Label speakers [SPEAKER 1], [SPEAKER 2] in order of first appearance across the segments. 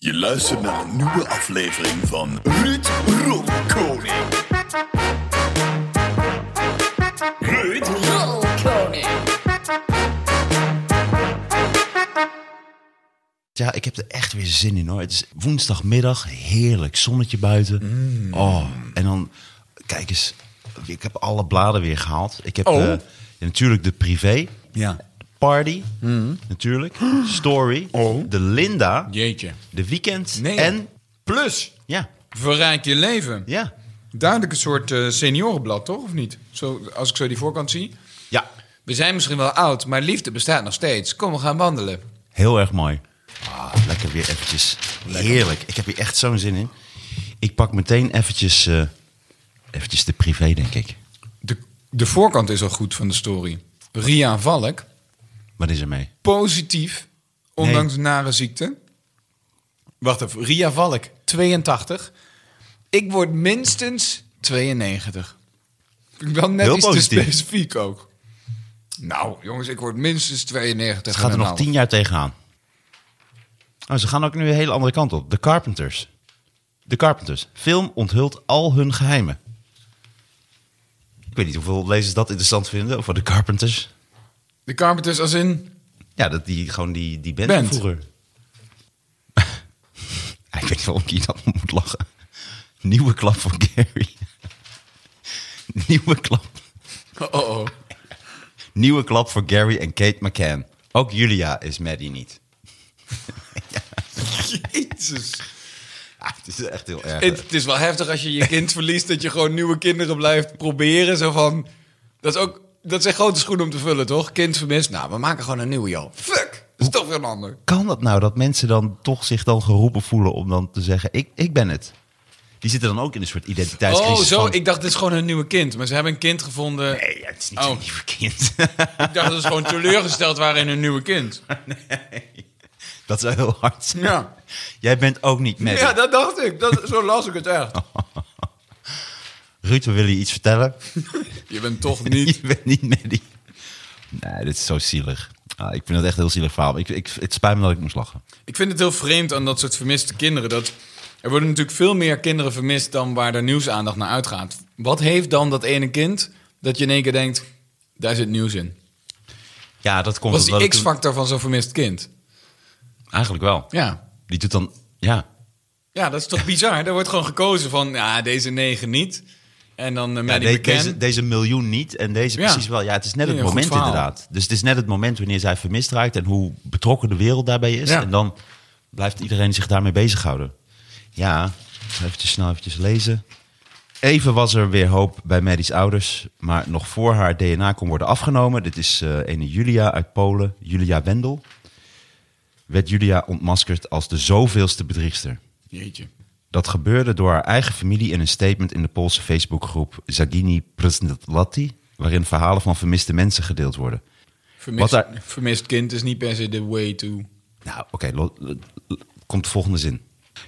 [SPEAKER 1] Je luistert naar een nieuwe aflevering van Ruud Rolkoning. Ruud.
[SPEAKER 2] Ja, ik heb er echt weer zin in hoor. Het is woensdagmiddag, heerlijk zonnetje buiten.
[SPEAKER 3] Mm.
[SPEAKER 2] Oh, en dan, kijk eens, ik heb alle bladen weer gehaald. Ik heb eh, ja, natuurlijk de privé,
[SPEAKER 3] Oh. Ja. Mm.
[SPEAKER 2] party, natuurlijk, story, de Linda,
[SPEAKER 3] Oh. Jeetje.
[SPEAKER 2] de weekend
[SPEAKER 3] Nee.
[SPEAKER 2] en
[SPEAKER 3] Plus,
[SPEAKER 2] ja,
[SPEAKER 3] verrijk je leven.
[SPEAKER 2] ja,
[SPEAKER 3] Duidelijk een soort eh, seniorenblad, toch? Of niet? Zo, als ik zo die voorkant zie.
[SPEAKER 2] ja,
[SPEAKER 3] We zijn misschien wel oud, maar liefde bestaat nog steeds. Kom, we gaan wandelen.
[SPEAKER 2] heel erg mooi. Ah, lekker weer eventjes, heerlijk. Ik heb hier echt zo'n zin in. Ik pak meteen eventjes, eh, eventjes de privé denk ik.
[SPEAKER 3] De, de voorkant is al goed van de story. Ria Valk,
[SPEAKER 2] Wat is er mee?
[SPEAKER 3] positief, ondanks nare ziekte. Wacht even, Ria Valk, 82. Ik word minstens 92. Vind Ik dan net
[SPEAKER 2] Heel
[SPEAKER 3] iets
[SPEAKER 2] positief.
[SPEAKER 3] te specifiek ook. Nou, jongens, ik word minstens 92.
[SPEAKER 2] Het gaat
[SPEAKER 3] en
[SPEAKER 2] er nog
[SPEAKER 3] een
[SPEAKER 2] tien jaar tegenaan. Oh, ze gaan ook nu een hele andere kant op. The Carpenters. The Carpenters. Film onthult al hun geheimen. Ik weet niet hoeveel lezers dat interessant vinden over The Carpenters.
[SPEAKER 3] De Carpenters als in...
[SPEAKER 2] Ja, dat die gewoon die, die band,
[SPEAKER 3] Band.
[SPEAKER 2] vroeger. ik weet niet waarom ik hier dan om moet lachen. Nieuwe klap van Gary. Nieuwe klap.
[SPEAKER 3] Oh, oh, oh.
[SPEAKER 2] Nieuwe klap voor Gary en Kate McCann. Ook Julia is Maddie niet.
[SPEAKER 3] Jezus.
[SPEAKER 2] Ah, het is echt heel erg.
[SPEAKER 3] Het, het is wel heftig als je je kind verliest... dat je gewoon nieuwe kinderen blijft proberen. Zo van... Dat is ook... Dat zijn grote schoenen om te vullen, toch? Kind vermist. Nou, we maken gewoon een nieuwe, joh. Fuck! Dat is toch weer een ander.
[SPEAKER 2] kan dat nou dat mensen dan toch zich dan geroepen voelen om dan te zeggen: ik, ik ben het? Die zitten dan ook in een soort
[SPEAKER 3] Oh,
[SPEAKER 2] identiteitscrisis.
[SPEAKER 3] zo.
[SPEAKER 2] van-
[SPEAKER 3] Ik dacht, dit is gewoon een nieuwe kind. Maar ze hebben een kind gevonden.
[SPEAKER 2] Nee, ja, het is niet
[SPEAKER 3] Oh.
[SPEAKER 2] een lieve kind.
[SPEAKER 3] Ik dacht dat ze gewoon teleurgesteld waren in hun nieuwe kind.
[SPEAKER 2] dat zou heel hard zijn.
[SPEAKER 3] Ja.
[SPEAKER 2] Jij bent ook niet met.
[SPEAKER 3] Ja, dat dacht ik. Dat, zo las ik het echt.
[SPEAKER 2] Oh. Ruud, we willen je iets vertellen.
[SPEAKER 3] Je bent toch
[SPEAKER 2] Je
[SPEAKER 3] niet...
[SPEAKER 2] bent niet Maddie. Nee, dit is zo zielig. Ah, ik vind het echt een heel zielig verhaal. Ik, ik, het spijt me dat ik moest lachen.
[SPEAKER 3] Ik vind het heel vreemd aan dat soort vermiste kinderen. Dat er worden natuurlijk veel meer kinderen vermist dan waar de nieuwsaandacht naar uitgaat. Wat heeft dan dat ene kind dat je in één keer denkt, daar zit nieuws in?
[SPEAKER 2] Ja, dat komt
[SPEAKER 3] Was
[SPEAKER 2] omdat
[SPEAKER 3] die
[SPEAKER 2] ik-
[SPEAKER 3] X-factor van zo'n vermist kind?
[SPEAKER 2] Eigenlijk wel.
[SPEAKER 3] Ja.
[SPEAKER 2] Die doet dan... Ja,
[SPEAKER 3] Ja, dat is toch bizar? Er wordt gewoon gekozen van, ja, deze negen niet. En dan uh,
[SPEAKER 2] Ja,
[SPEAKER 3] Maddie
[SPEAKER 2] de-
[SPEAKER 3] McCann.
[SPEAKER 2] deze, deze miljoen niet en deze
[SPEAKER 3] Ja.
[SPEAKER 2] precies wel. Ja, het is net
[SPEAKER 3] Ja,
[SPEAKER 2] het
[SPEAKER 3] een goed
[SPEAKER 2] moment
[SPEAKER 3] verhaal.
[SPEAKER 2] inderdaad. Dus het is net het moment wanneer zij vermist raakt en hoe betrokken de wereld daarbij is.
[SPEAKER 3] Ja.
[SPEAKER 2] En dan blijft iedereen zich daarmee bezighouden. Ja, even snel eventjes lezen. Even was er weer hoop bij Maddie's ouders, maar nog voor haar DNA kon worden afgenomen. Dit is eh een Julia uit Polen, Julia Wendel. Werd Julia ontmaskerd als de zoveelste bedriegster.
[SPEAKER 3] Jeetje.
[SPEAKER 2] Dat gebeurde door haar eigen familie in een statement in de Poolse Facebookgroep Zagini Presnetlati, waarin verhalen van vermiste mensen gedeeld worden.
[SPEAKER 3] Vermist,
[SPEAKER 2] Wat daar-
[SPEAKER 3] vermist kind is niet per se de way to...
[SPEAKER 2] Nou, oké, lo- lo- lo- komt de volgende zin.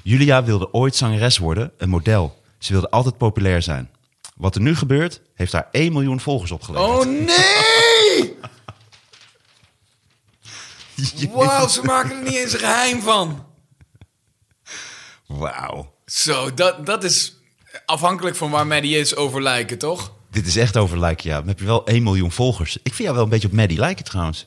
[SPEAKER 2] Julia wilde ooit zangeres worden, een model. Ze wilde altijd populair zijn. Wat er nu gebeurt, heeft haar 1 miljoen volgers opgeleverd.
[SPEAKER 3] Oh nee! Wauw, ze maken er niet eens een geheim van.
[SPEAKER 2] Wauw.
[SPEAKER 3] Zo, dat, dat is afhankelijk van waar Maddie is over lijken, toch?
[SPEAKER 2] Dit is echt over lijken, ja. Dan heb je wel 1 miljoen volgers. Ik vind jou wel een beetje op Maddie lijken trouwens.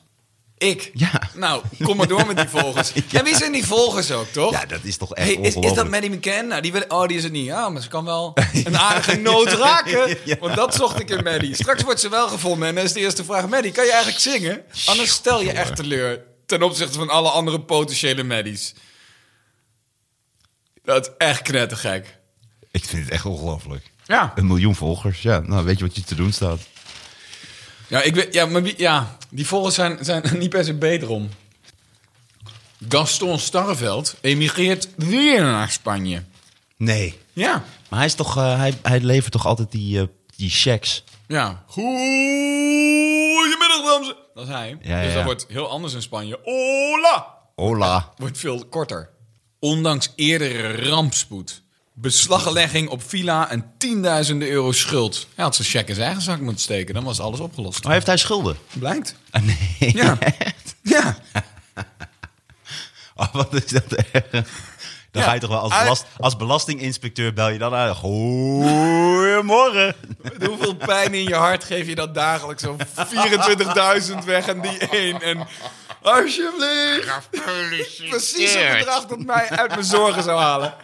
[SPEAKER 3] Ik?
[SPEAKER 2] Ja.
[SPEAKER 3] Nou, kom maar door met die volgers. En wie zijn die volgers ook, toch?
[SPEAKER 2] Ja, dat is toch echt
[SPEAKER 3] Hey, is, is dat
[SPEAKER 2] ongelooflijk.
[SPEAKER 3] Maddie McCann? Nou, die wil, oh, die is het niet. Ja, maar ze kan wel een aardige noot raken. Want dat zocht ik in Maddie. Straks wordt ze wel gevonden. En dan is de eerste vraag... Maddie, kan je eigenlijk zingen? Anders stel je echt teleur ten opzichte van alle andere potentiële Maddies. Dat is echt knettergek.
[SPEAKER 2] Ik vind het echt ongelooflijk.
[SPEAKER 3] Ja.
[SPEAKER 2] Een miljoen volgers, ja. Nou, weet je wat je te doen staat.
[SPEAKER 3] Ja, ik weet, ja, maar wie, ja die volgers zijn, zijn er niet per se beter om. Gaston Starreveld emigreert weer naar Spanje.
[SPEAKER 2] Nee.
[SPEAKER 3] Ja.
[SPEAKER 2] Maar hij, is toch, eh, hij, hij levert toch altijd die, eh, die checks.
[SPEAKER 3] Ja. Goedemiddag, dames. en- Dat is hij.
[SPEAKER 2] Ja, ja,
[SPEAKER 3] dus dat
[SPEAKER 2] ja.
[SPEAKER 3] wordt heel anders in Spanje. Hola!
[SPEAKER 2] Hola.
[SPEAKER 3] Wordt veel korter. Ondanks eerdere rampspoed, beslaglegging op villa en tienduizenden euro schuld. Hij had zijn check in zijn eigen zak moeten steken, dan was alles opgelost.
[SPEAKER 2] Maar heeft hij schulden?
[SPEAKER 3] Blijkt.
[SPEAKER 2] Ah, nee.
[SPEAKER 3] Ja.
[SPEAKER 2] Echt?
[SPEAKER 3] Ja.
[SPEAKER 2] Oh, wat is dat erg. Dan ga je toch wel
[SPEAKER 3] Ah.
[SPEAKER 2] als, belast- als belastinginspecteur bel je dan aan. Goedemorgen.
[SPEAKER 3] Hoeveel pijn in je hart geef je dat dagelijks? Zo'n 24.000 weg en die één. En alsjeblieft. Precies het bedrag dat mij uit mijn zorgen zou halen.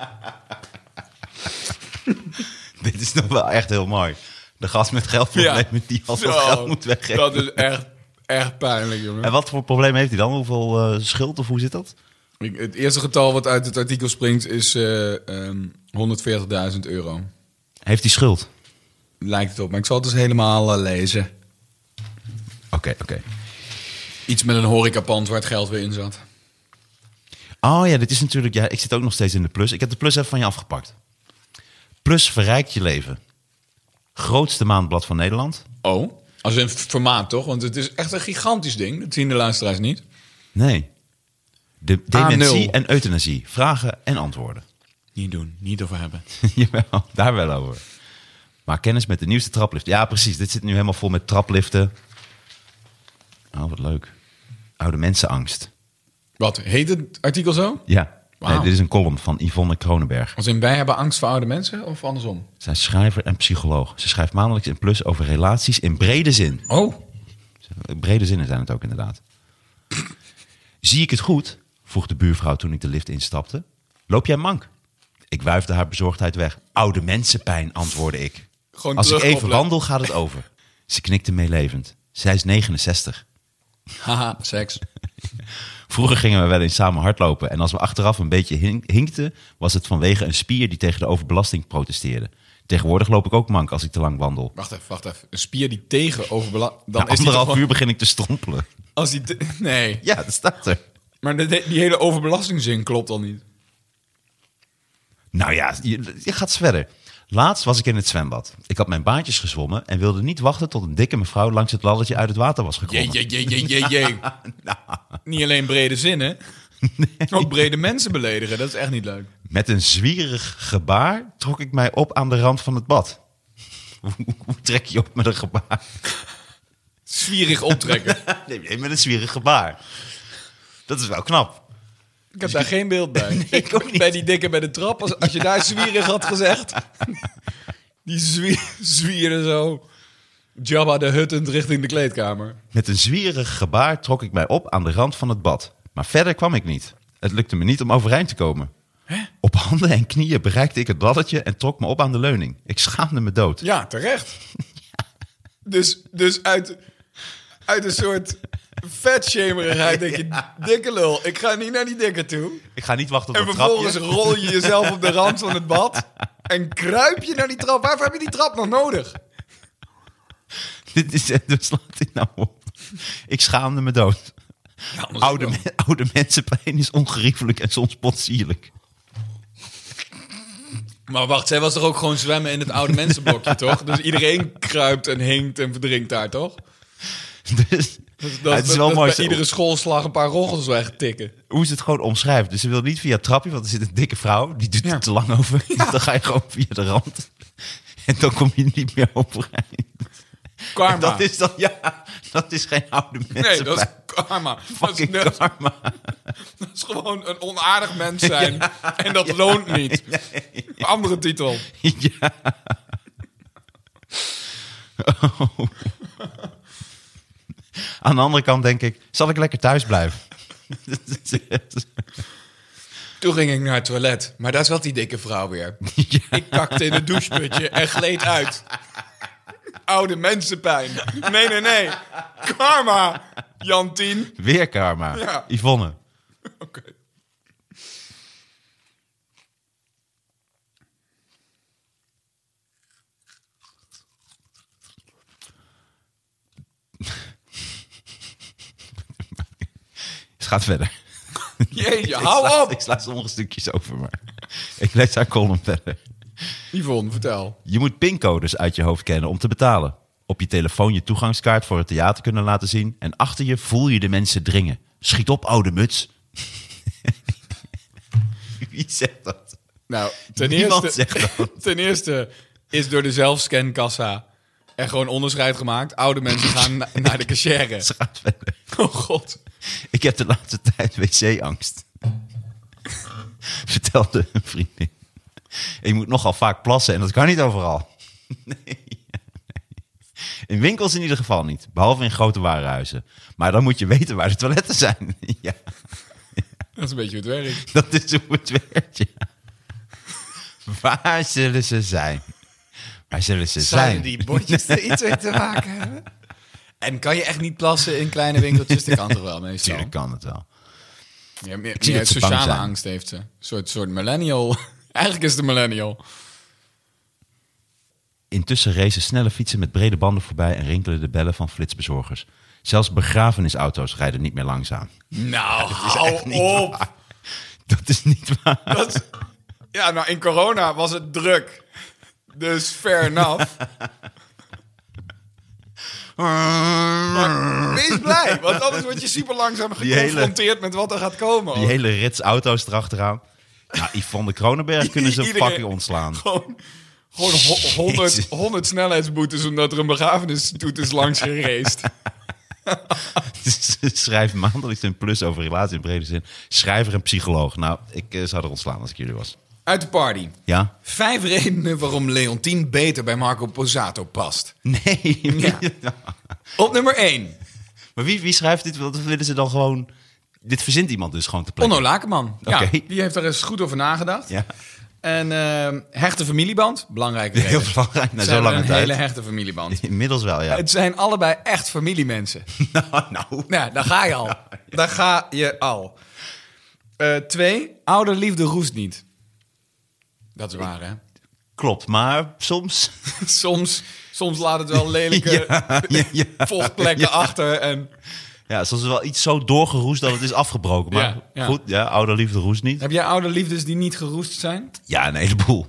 [SPEAKER 2] Dit is nog wel echt heel mooi. De gast met geldproblemen die al
[SPEAKER 3] Zo,
[SPEAKER 2] dat geld moet weggeven.
[SPEAKER 3] Dat is echt, echt pijnlijk, jongen.
[SPEAKER 2] En wat voor probleem heeft hij dan? Hoeveel eh, schuld of hoe zit dat?
[SPEAKER 3] Ik- het eerste getal wat uit het artikel springt is eh, ehm, 140.000 euro.
[SPEAKER 2] Heeft hij schuld?
[SPEAKER 3] Lijkt het op, maar ik zal het dus helemaal eh, lezen.
[SPEAKER 2] Oké, oké.
[SPEAKER 3] Iets met een horecapand waar het geld weer in zat.
[SPEAKER 2] Oh ja, dit is natuurlijk. Ja, ik zit ook nog steeds in de plus. Ik heb de plus even van je afgepakt. Plus verrijkt je leven. Grootste maandblad van Nederland.
[SPEAKER 3] Oh, als een formaat toch? Want het is echt een gigantisch ding. Dat zien de luisteraars niet.
[SPEAKER 2] Nee. De
[SPEAKER 3] A0.
[SPEAKER 2] dementie en euthanasie. Vragen en antwoorden.
[SPEAKER 3] Niet doen, niet over hebben.
[SPEAKER 2] Jawel, daar wel over. Maar kennis met de nieuwste traplift. Ja, precies. Dit zit nu helemaal vol met trapliften. Oh, wat leuk. Oude mensenangst.
[SPEAKER 3] Wat, heet het artikel zo?
[SPEAKER 2] Ja.
[SPEAKER 3] Wauw.
[SPEAKER 2] Nee, dit is een column van Yvonne Kronenberg.
[SPEAKER 3] Als in wij hebben angst voor oude mensen of andersom?
[SPEAKER 2] Zij is schrijver en psycholoog. Ze schrijft maandelijks in Plus over relaties in brede zin.
[SPEAKER 3] Oh,
[SPEAKER 2] Brede zinnen zijn het ook inderdaad. Zie ik het goed? vroeg de buurvrouw toen ik de lift instapte. Loop jij mank? Ik wuifde haar bezorgdheid weg. Oude mensenpijn, antwoordde ik.
[SPEAKER 3] Gewoon
[SPEAKER 2] Als ik even
[SPEAKER 3] terugkoppelen.
[SPEAKER 2] wandel, gaat het over. Ze knikte meelevend. Zij is 69.
[SPEAKER 3] haha, seks.
[SPEAKER 2] Vroeger gingen we wel eens samen hardlopen. En als we achteraf een beetje hink- hinkten, was het vanwege een spier die tegen de overbelasting protesteerde. Tegenwoordig loop ik ook mank als ik te lang wandel.
[SPEAKER 3] Wacht even, wacht even. Een spier die tegen overbelast...
[SPEAKER 2] Na
[SPEAKER 3] Dan is die
[SPEAKER 2] anderhalf
[SPEAKER 3] toch
[SPEAKER 2] uur begin ik te strompelen.
[SPEAKER 3] gewoon- Als die te- nee,
[SPEAKER 2] Ja, dat staat er.
[SPEAKER 3] maar de- die hele overbelastingzin klopt al niet.
[SPEAKER 2] Nou ja, je, je gaat verder. Laatst was ik in het zwembad. Ik had mijn baantjes gezwommen en wilde niet wachten tot een dikke mevrouw langs het laddertje uit het water was gekomen.
[SPEAKER 3] Jee, jee, jee, jee, jee, jee. Nou. Niet alleen brede zinnen, ook brede mensen beledigen. Dat is echt niet leuk.
[SPEAKER 2] Met een zwierig gebaar trok ik mij op aan de rand van het bad. Hoe hoe trek je op met een gebaar?
[SPEAKER 3] Zwierig optrekken.
[SPEAKER 2] Nee, nee, met een zwierig gebaar. Dat is wel knap.
[SPEAKER 3] Ik heb daar geen beeld bij.
[SPEAKER 2] ik ook niet.
[SPEAKER 3] Bij die dikke bij de trap, als, als je daar zwierig had gezegd. Die zwie, zwierde zo. Jabba de Huttend richting de kleedkamer.
[SPEAKER 2] Met een zwierig gebaar trok ik mij op aan de rand van het bad. Maar verder kwam ik niet. Het lukte me niet om overeind te komen. Op handen en knieën bereikte ik het laddertje en trok me op aan de leuning. Ik schaamde me dood.
[SPEAKER 3] Ja, terecht. Dus, dus uit, uit een soort vetshamerigheid denk je... Dikke lul, ik ga niet naar die dikke toe.
[SPEAKER 2] Ik ga niet wachten
[SPEAKER 3] En
[SPEAKER 2] op een trapje.
[SPEAKER 3] vervolgens rol je jezelf op de rand van het bad. En kruip je naar die trap. Waarvoor heb je die trap nog nodig?
[SPEAKER 2] Dit is, dus laat dit nou op. Ik schaamde me dood. Oude, men- oude mensenpijn is ongeriefelijk en soms potsierlijk.
[SPEAKER 3] Maar wacht, zij was toch ook gewoon zwemmen in het oude mensenblokje, toch? Dus iedereen kruipt en hinkt en verdrinkt daar, toch?
[SPEAKER 2] Dus
[SPEAKER 3] Dat,
[SPEAKER 2] ja, het is wel
[SPEAKER 3] dat
[SPEAKER 2] mooi
[SPEAKER 3] bij
[SPEAKER 2] zo-
[SPEAKER 3] iedere schoolslag een paar roggels wegtikken.
[SPEAKER 2] hoe ze het gewoon omschrijft. Dus ze wil niet via het trapje, want er zit een dikke vrouw. Die doet
[SPEAKER 3] Ja.
[SPEAKER 2] er te lang over. Dus dan ga je gewoon via de rand. En dan kom je niet meer overeind.
[SPEAKER 3] Karma.
[SPEAKER 2] En dat is dan, ja, dat is geen oude mensenpijn.
[SPEAKER 3] nee, dat is karma. Dat is,
[SPEAKER 2] fucking
[SPEAKER 3] dat is-
[SPEAKER 2] karma.
[SPEAKER 3] dat is gewoon een onaardig mens zijn. En dat loont niet. Andere titel.
[SPEAKER 2] ja. Oh. Aan de andere kant denk ik, zal ik lekker thuis blijven?
[SPEAKER 3] Toen ging ik naar het toilet, maar daar zat die dikke vrouw weer. Ik kakte in het doucheputje en gleed uit. Oude mensenpijn. Nee, nee, nee. Karma, Jantien.
[SPEAKER 2] Weer karma.
[SPEAKER 3] Ja.
[SPEAKER 2] Yvonne.
[SPEAKER 3] Oké.
[SPEAKER 2] Het gaat verder.
[SPEAKER 3] Jeetje,
[SPEAKER 2] ik sla,
[SPEAKER 3] hou op.
[SPEAKER 2] Ik sla sommige stukjes over, maar ik lees haar column verder.
[SPEAKER 3] Yvonne, vertel.
[SPEAKER 2] Je moet pincodes uit je hoofd kennen om te betalen. Op je telefoon je toegangskaart voor het theater kunnen laten zien. En achter je voel je de mensen dringen. Schiet op, oude muts. Wie zegt dat?
[SPEAKER 3] Nou, ten
[SPEAKER 2] Niemand
[SPEAKER 3] eerste,
[SPEAKER 2] zegt dat.
[SPEAKER 3] ten eerste is door de zelfscankassa er gewoon onderscheid gemaakt. Oude mensen gaan na- naar de cashier.
[SPEAKER 2] Ze gaat verder.
[SPEAKER 3] Oh god.
[SPEAKER 2] Ik heb de laatste tijd wc-angst. vertelde een vriendin. Ik moet nogal vaak plassen en dat kan niet overal. In winkels in ieder geval niet, behalve in grote warenhuizen. Maar dan moet je weten waar de toiletten zijn. ja,
[SPEAKER 3] Dat is een beetje hoe het werkt.
[SPEAKER 2] dat is hoe het werkt. ja. Waar zullen ze zijn? Waar zullen ze zijn?
[SPEAKER 3] Zouden die botjes er iets mee te maken hebben? En kan je echt niet plassen in kleine winkeltjes? Dat kan toch wel meestal?
[SPEAKER 2] Natuurlijk kan het wel.
[SPEAKER 3] Ja, meer,
[SPEAKER 2] zie
[SPEAKER 3] meer
[SPEAKER 2] dat ze bang
[SPEAKER 3] sociale
[SPEAKER 2] zijn.
[SPEAKER 3] angst heeft ze. Een soort, soort millennial. Eigenlijk is de millennial.
[SPEAKER 2] Intussen racen snelle fietsen met brede banden voorbij en rinkelen de bellen van flitsbezorgers. Zelfs begrafenisauto's rijden niet meer langzaam.
[SPEAKER 3] Nou,
[SPEAKER 2] Echt
[SPEAKER 3] hou
[SPEAKER 2] niet
[SPEAKER 3] op.
[SPEAKER 2] waar. Dat is niet waar.
[SPEAKER 3] Dat is- ja, nou, in corona was het druk. Dus fair enough. Maar wees blij, want anders word je super langzaam
[SPEAKER 2] Die hele-
[SPEAKER 3] geconfronteerd met wat er gaat komen.
[SPEAKER 2] Die hele rits auto's erachteraan. Nou, Yvonne Kronenberg kunnen ze
[SPEAKER 3] Iedereen-
[SPEAKER 2] fucking ontslaan.
[SPEAKER 3] Gewoon, gewoon ho- 100,
[SPEAKER 2] Jezus.
[SPEAKER 3] 100 snelheidsboetes omdat er een begrafenisstoet is langs gereest.
[SPEAKER 2] Schrijf maandelijks een plus over relatie in brede zin. Schrijver en psycholoog. Nou, ik eh, zou er ontslaan als ik jullie was.
[SPEAKER 3] Uit de party.
[SPEAKER 2] Ja?
[SPEAKER 3] Vijf redenen waarom Leontien beter bij Marco Pozzato past.
[SPEAKER 2] Nee.
[SPEAKER 3] Ja. Op nummer 1,
[SPEAKER 2] Maar wie, wie schrijft dit? Wat willen ze dan gewoon... Dit verzint iemand dus gewoon te
[SPEAKER 3] Onno
[SPEAKER 2] plannen.
[SPEAKER 3] Lakenman. Ja,
[SPEAKER 2] Oké.
[SPEAKER 3] Die heeft er eens goed over nagedacht.
[SPEAKER 2] Ja.
[SPEAKER 3] En ehm, hechte familieband, belangrijke reden.
[SPEAKER 2] Heel belangrijk. Na
[SPEAKER 3] Ze
[SPEAKER 2] zo'n
[SPEAKER 3] hebben
[SPEAKER 2] lange
[SPEAKER 3] een
[SPEAKER 2] tijd.
[SPEAKER 3] hele hechte familieband.
[SPEAKER 2] Inmiddels wel, ja.
[SPEAKER 3] Het zijn allebei echt familiemensen.
[SPEAKER 2] Eh, Nou, nou.
[SPEAKER 3] Nou, daar ga je al. Daar ga je al. Eh, twee, ouderliefde roest niet. Dat is waar, hè?
[SPEAKER 2] Klopt, maar soms...
[SPEAKER 3] Soms, soms laat het wel lelijke
[SPEAKER 2] ja, ja.
[SPEAKER 3] vochtplekken achter. En...
[SPEAKER 2] Ja, soms is wel iets zo doorgeroest dat het is afgebroken. Maar
[SPEAKER 3] Ja, ja.
[SPEAKER 2] goed, ja, oude liefde roest niet.
[SPEAKER 3] Heb jij ouderliefdes die niet geroest zijn?
[SPEAKER 2] Ja, een heleboel.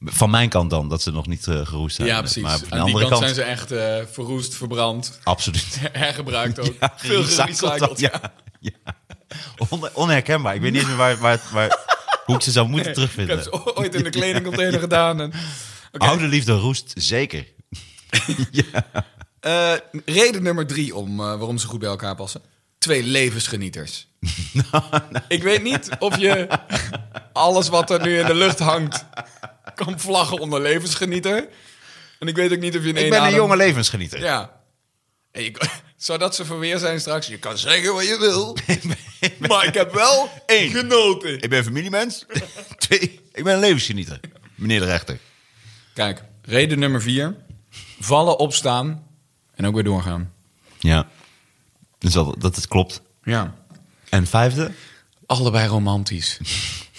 [SPEAKER 2] Van mijn kant dan, dat ze nog niet eh, geroest zijn.
[SPEAKER 3] Ja, precies.
[SPEAKER 2] Maar
[SPEAKER 3] Aan die
[SPEAKER 2] van de
[SPEAKER 3] kant,
[SPEAKER 2] andere kant,
[SPEAKER 3] zijn ze echt eh, verroest, verbrand,
[SPEAKER 2] absoluut.
[SPEAKER 3] hergebruikt ook.
[SPEAKER 2] Ja,
[SPEAKER 3] Veel
[SPEAKER 2] gerecycled
[SPEAKER 3] gerecycled.
[SPEAKER 2] dan, ja. ja. On- onherkenbaar. Ik weet niet eens meer waar, waar, waar, hoe ik ze zou moeten
[SPEAKER 3] Ik heb
[SPEAKER 2] terugvinden.
[SPEAKER 3] ze o- ooit in de kledingcontainer gedaan. En... Oké.
[SPEAKER 2] Oude liefde roest, zeker.
[SPEAKER 3] Eh, reden nummer drie om, eh, waarom ze goed bij elkaar passen. Twee levensgenieters.
[SPEAKER 2] Nou,
[SPEAKER 3] Ik weet niet of je alles wat er nu in de lucht hangt kan vlaggen onder levensgenieter. En ik weet ook niet of je in één
[SPEAKER 2] Ik ben een
[SPEAKER 3] adem-
[SPEAKER 2] jonge levensgenieter.
[SPEAKER 3] Ja. En je- zou dat ze verweer zijn straks? Je kan zeggen wat je wil, maar ik heb wel één genoten.
[SPEAKER 2] Ik ben familiemens. Twee, ik ben een levensgenieter. Meneer de rechter.
[SPEAKER 3] Kijk, reden nummer vier. Vallen, opstaan en ook weer doorgaan.
[SPEAKER 2] Ja, dus dat, dat het klopt.
[SPEAKER 3] Ja.
[SPEAKER 2] En vijfde?
[SPEAKER 3] Allebei romantisch.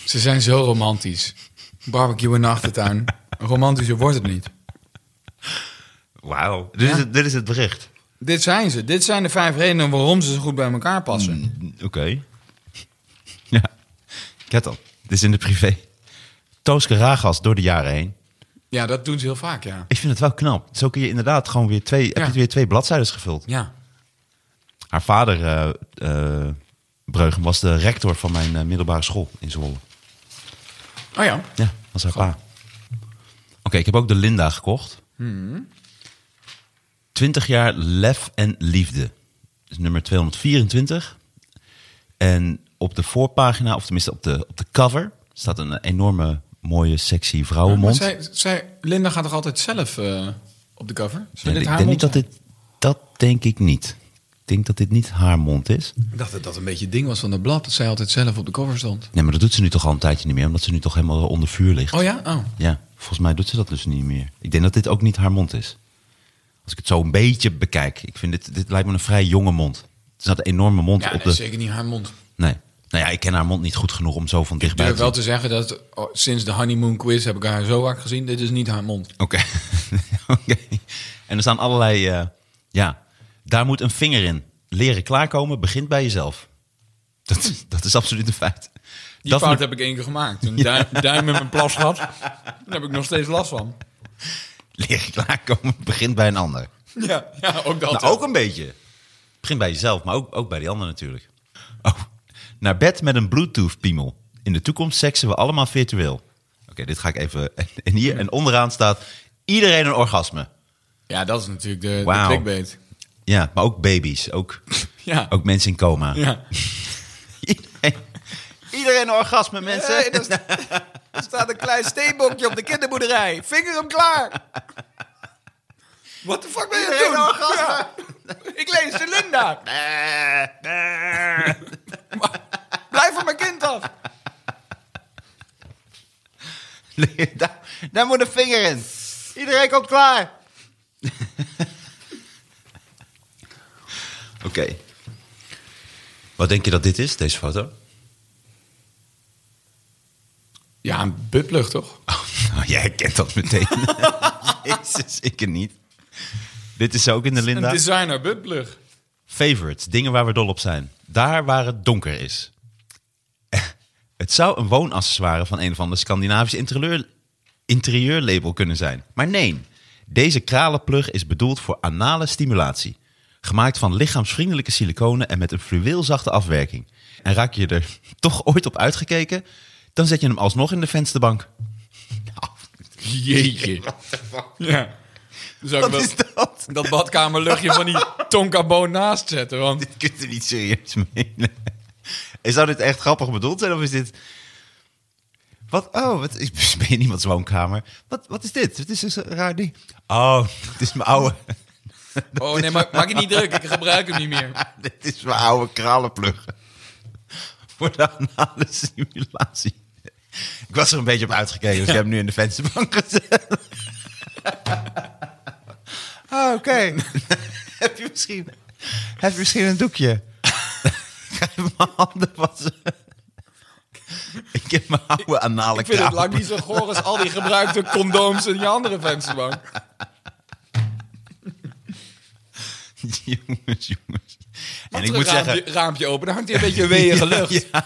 [SPEAKER 3] Ze zijn zo romantisch. Barbecue in de achtertuin. Romantischer wordt het niet.
[SPEAKER 2] Wauw. Dit, is
[SPEAKER 3] Ja.
[SPEAKER 2] het- dit is het bericht.
[SPEAKER 3] Dit zijn ze. Dit zijn de vijf redenen waarom ze zo goed bij elkaar passen.
[SPEAKER 2] Oké. Ja. Ket dan. Dit is in de privé. Tooske Ragas door de jaren heen.
[SPEAKER 3] Ja, dat doen ze heel vaak, ja.
[SPEAKER 2] Ik vind het wel knap. Zo kun je inderdaad gewoon weer twee, heb
[SPEAKER 3] Ja.
[SPEAKER 2] je weer twee bladzijden gevuld.
[SPEAKER 3] Ja.
[SPEAKER 2] Haar vader, eh eh, Breugem, was de rector van mijn eh, middelbare school in Zwolle.
[SPEAKER 3] Oh ja.
[SPEAKER 2] Ja, was haar pa. Oké, ik heb ook de Linda gekocht.
[SPEAKER 3] Hmm.
[SPEAKER 2] Twintig 20 jaar lef en liefde. Dat is nummer 224. En op de voorpagina, of tenminste op de, op de cover... staat een enorme, mooie, sexy
[SPEAKER 3] Maar
[SPEAKER 2] vrouwenmond.
[SPEAKER 3] zij, zij, Linda gaat toch altijd zelf eh, op de cover? Zou
[SPEAKER 2] Nee,
[SPEAKER 3] dit
[SPEAKER 2] ik
[SPEAKER 3] haar
[SPEAKER 2] denk niet
[SPEAKER 3] mond
[SPEAKER 2] dat dit... Dat denk ik niet. Ik denk dat dit niet haar mond is.
[SPEAKER 3] zijn? Ik dacht dat dat een beetje het ding was van dat blad, dat zij altijd zelf op de cover stond.
[SPEAKER 2] Nee, maar dat doet ze nu toch al een tijdje niet meer... omdat ze nu toch helemaal onder vuur ligt.
[SPEAKER 3] Oh ja? Oh.
[SPEAKER 2] Ja, volgens mij doet ze dat dus niet meer. Ik denk dat dit ook niet haar mond is. Als ik het zo een beetje bekijk. Ik vind dit, dit lijkt me een vrij jonge mond. Het is een enorme mond
[SPEAKER 3] Ja,
[SPEAKER 2] op
[SPEAKER 3] nee,
[SPEAKER 2] de...
[SPEAKER 3] zeker niet haar mond.
[SPEAKER 2] Nee. Nou ja, ik ken haar mond niet goed genoeg om zo van
[SPEAKER 3] Ik
[SPEAKER 2] dichtbij
[SPEAKER 3] durf
[SPEAKER 2] te
[SPEAKER 3] wel te zeggen dat oh, sinds de honeymoon quiz heb ik haar zo vaak gezien. Dit is niet haar mond.
[SPEAKER 2] Oké. Oké. En er staan allerlei... eh, ja, daar moet een vinger in. Leren klaarkomen begint bij jezelf. Dat, dat is absoluut een feit.
[SPEAKER 3] Die
[SPEAKER 2] dat
[SPEAKER 3] fout
[SPEAKER 2] moet-
[SPEAKER 3] heb ik één keer gemaakt. Een duim, duim in mijn plas gehad. Daar heb ik nog steeds last van.
[SPEAKER 2] Leren klaarkomen begint bij een ander.
[SPEAKER 3] Ja, ja ook dat.
[SPEAKER 2] Nou, ook een beetje. Begin bij jezelf, maar ook, ook bij die ander natuurlijk. Oh, naar bed met een Bluetooth-piemel. In de toekomst seksen we allemaal virtueel. Oké, dit ga ik even... En hier en onderaan staat iedereen een orgasme.
[SPEAKER 3] Ja, dat is natuurlijk de,
[SPEAKER 2] Wauw.
[SPEAKER 3] de clickbait.
[SPEAKER 2] Ja, maar ook baby's. Ook,
[SPEAKER 3] Ja.
[SPEAKER 2] ook mensen in coma.
[SPEAKER 3] Ja.
[SPEAKER 2] Iedereen, Iedereen een orgasme, mensen.
[SPEAKER 3] Nee, Eh, dat is- er staat een klein steenbokje op de kinderboerderij. Vinger hem klaar. What the fuck ben je aan het doen?
[SPEAKER 2] Iedereen orgasme.
[SPEAKER 3] Ja. Ik lees de Linda. Blijf van mijn kind af.
[SPEAKER 2] daar, daar moet een vinger in. Iedereen komt klaar. Oké. Wat denk je dat dit is, deze foto?
[SPEAKER 3] Ja, een buttplug toch?
[SPEAKER 2] Nou, jij herkent dat meteen. Jezus, ik er niet. Dit is ook in de
[SPEAKER 3] Een
[SPEAKER 2] Linda.
[SPEAKER 3] designer buttplug.
[SPEAKER 2] Favorites, dingen waar we dol op zijn. Daar waar het donker is. Het zou een woonaccessoire van een of ander Scandinavisch interieur, interieurlabel kunnen zijn. Maar nee, deze kralenplug is bedoeld voor anale stimulatie. Gemaakt van lichaamsvriendelijke siliconen en met een fluweelzachte afwerking. En raak je er toch ooit op uitgekeken, dan zet je hem alsnog in de vensterbank. Nou,
[SPEAKER 3] Jeetje. Ja. Zou ik
[SPEAKER 2] Wat
[SPEAKER 3] wel
[SPEAKER 2] is dat?
[SPEAKER 3] dat badkamerluchtje van die tonkaboon naast zetten. Want
[SPEAKER 2] Dit kunt u niet serieus menen. En Zou dit echt grappig bedoeld zijn of is dit... Wat? Oh, wat is ben je in iemands woonkamer? Wat, wat is dit? Het is dus een raar ding. Oh, dit is mijn oude,
[SPEAKER 3] Oh nee, maar maak je niet druk. Ik gebruik hem niet meer.
[SPEAKER 2] dit is mijn oude kralenplug. Voor de anale simulatie. Ik was er een beetje op uitgekeken, dus ik heb hem nu in de vensterbank gezet. Oh, oké. heb, je misschien, heb je misschien een doekje? Ik ga even mijn handen wassen. Ik heb mijn oude anale
[SPEAKER 3] Ik vind het
[SPEAKER 2] kraal.
[SPEAKER 3] lang niet zo goor als al die gebruikte condooms in je andere vensterbank.
[SPEAKER 2] jongens, jongens. En ik
[SPEAKER 3] Terug
[SPEAKER 2] moet
[SPEAKER 3] raampje,
[SPEAKER 2] zeggen...
[SPEAKER 3] raampje open, dan hangt hier een beetje weeënge lucht.
[SPEAKER 2] Ja.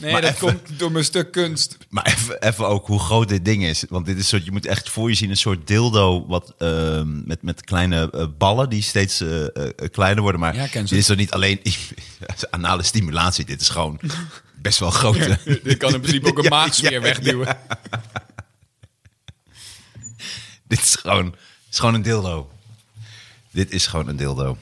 [SPEAKER 3] nee,
[SPEAKER 2] maar
[SPEAKER 3] dat
[SPEAKER 2] even-
[SPEAKER 3] komt door mijn stuk kunst.
[SPEAKER 2] Maar even, even ook hoe groot dit ding is. Want dit is soort, je moet echt voor je zien een soort dildo wat, ehm, met, met kleine eh, ballen die steeds eh, eh, kleiner worden. Maar
[SPEAKER 3] Ja, ik ken ze.
[SPEAKER 2] dit is toch niet alleen anale stimulatie. Dit is gewoon best wel groot. hè?
[SPEAKER 3] Dit kan in principe ook een
[SPEAKER 2] Ja,
[SPEAKER 3] maagsfeer
[SPEAKER 2] ja, ja.
[SPEAKER 3] wegduwen.
[SPEAKER 2] Dit is gewoon, het is gewoon een dildo. Dit is gewoon een dildo.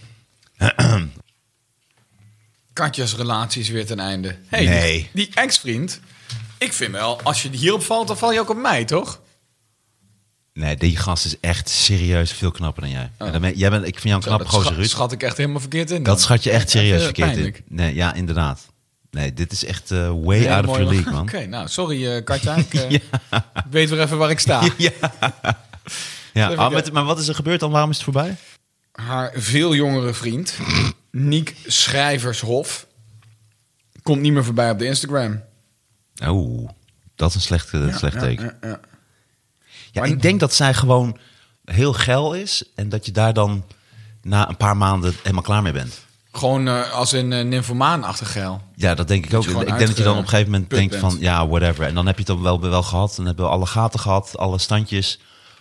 [SPEAKER 3] Katja's relatie is weer ten einde. Hey,
[SPEAKER 2] Nee.
[SPEAKER 3] Die, die ex-vriend. Ik vind wel, als je hierop valt, dan val je ook op mij, toch?
[SPEAKER 2] Nee, die gast is echt serieus veel knapper dan jij. En dan ben- jij bent, ik vind jou een
[SPEAKER 3] Nou,
[SPEAKER 2] knappe gozer,
[SPEAKER 3] Oh. scha-
[SPEAKER 2] Ruud.
[SPEAKER 3] schat ik echt helemaal verkeerd in.
[SPEAKER 2] Dat schat je echt serieus
[SPEAKER 3] Eh,
[SPEAKER 2] verkeerd in.
[SPEAKER 3] pijnlijk.
[SPEAKER 2] Nee, ja, inderdaad. Nee, dit is echt eh, way
[SPEAKER 3] Hele
[SPEAKER 2] out of
[SPEAKER 3] mooie-
[SPEAKER 2] your league, man.
[SPEAKER 3] Oké, nou, sorry eh, Katja. Ik eh, ik weet weer even waar ik sta.
[SPEAKER 2] Ja,
[SPEAKER 3] Even
[SPEAKER 2] ah,
[SPEAKER 3] de-
[SPEAKER 2] met- maar wat is er gebeurd dan? Waarom is het voorbij?
[SPEAKER 3] haar veel jongere vriend, Niek Schrijvershof, komt niet meer voorbij op de Instagram.
[SPEAKER 2] Oeh, dat is een slecht, een slecht teken. Ja,
[SPEAKER 3] ja.
[SPEAKER 2] ik denk dat zij gewoon heel geil is en dat je daar dan na een paar maanden helemaal klaar mee bent.
[SPEAKER 3] Gewoon eh, als een uh, nymphomaan-achtig geil.
[SPEAKER 2] Ja, dat denk ik ook.
[SPEAKER 3] je
[SPEAKER 2] Ik
[SPEAKER 3] gewoon
[SPEAKER 2] denk dat je dan op een gegeven moment
[SPEAKER 3] uitgeput
[SPEAKER 2] denkt van,
[SPEAKER 3] bent.
[SPEAKER 2] ja, whatever. En dan heb je het dan wel, wel gehad. Dan hebben we alle gaten gehad, alle standjes,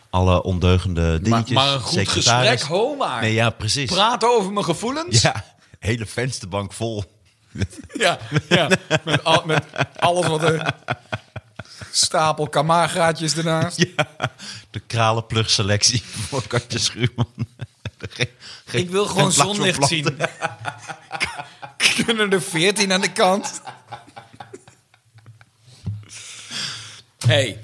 [SPEAKER 2] alle ondeugende dingetjes.
[SPEAKER 3] maar een goed
[SPEAKER 2] secretaris.
[SPEAKER 3] gesprek, ho maar.
[SPEAKER 2] Nee, ja, precies.
[SPEAKER 3] Praten over mijn gevoelens?
[SPEAKER 2] Ja, hele vensterbank vol.
[SPEAKER 3] ja. ja. Met, al- met alles wat er... Stapel kamaargraatjes ernaast.
[SPEAKER 2] Ja, de kralenplug selectie voor Katje Schuurman. Geen- geen-
[SPEAKER 3] Ik wil
[SPEAKER 2] geen
[SPEAKER 3] gewoon
[SPEAKER 2] plaats voor
[SPEAKER 3] zonlicht
[SPEAKER 2] planten.
[SPEAKER 3] zien. Kunnen er veertien aan de kant? hey,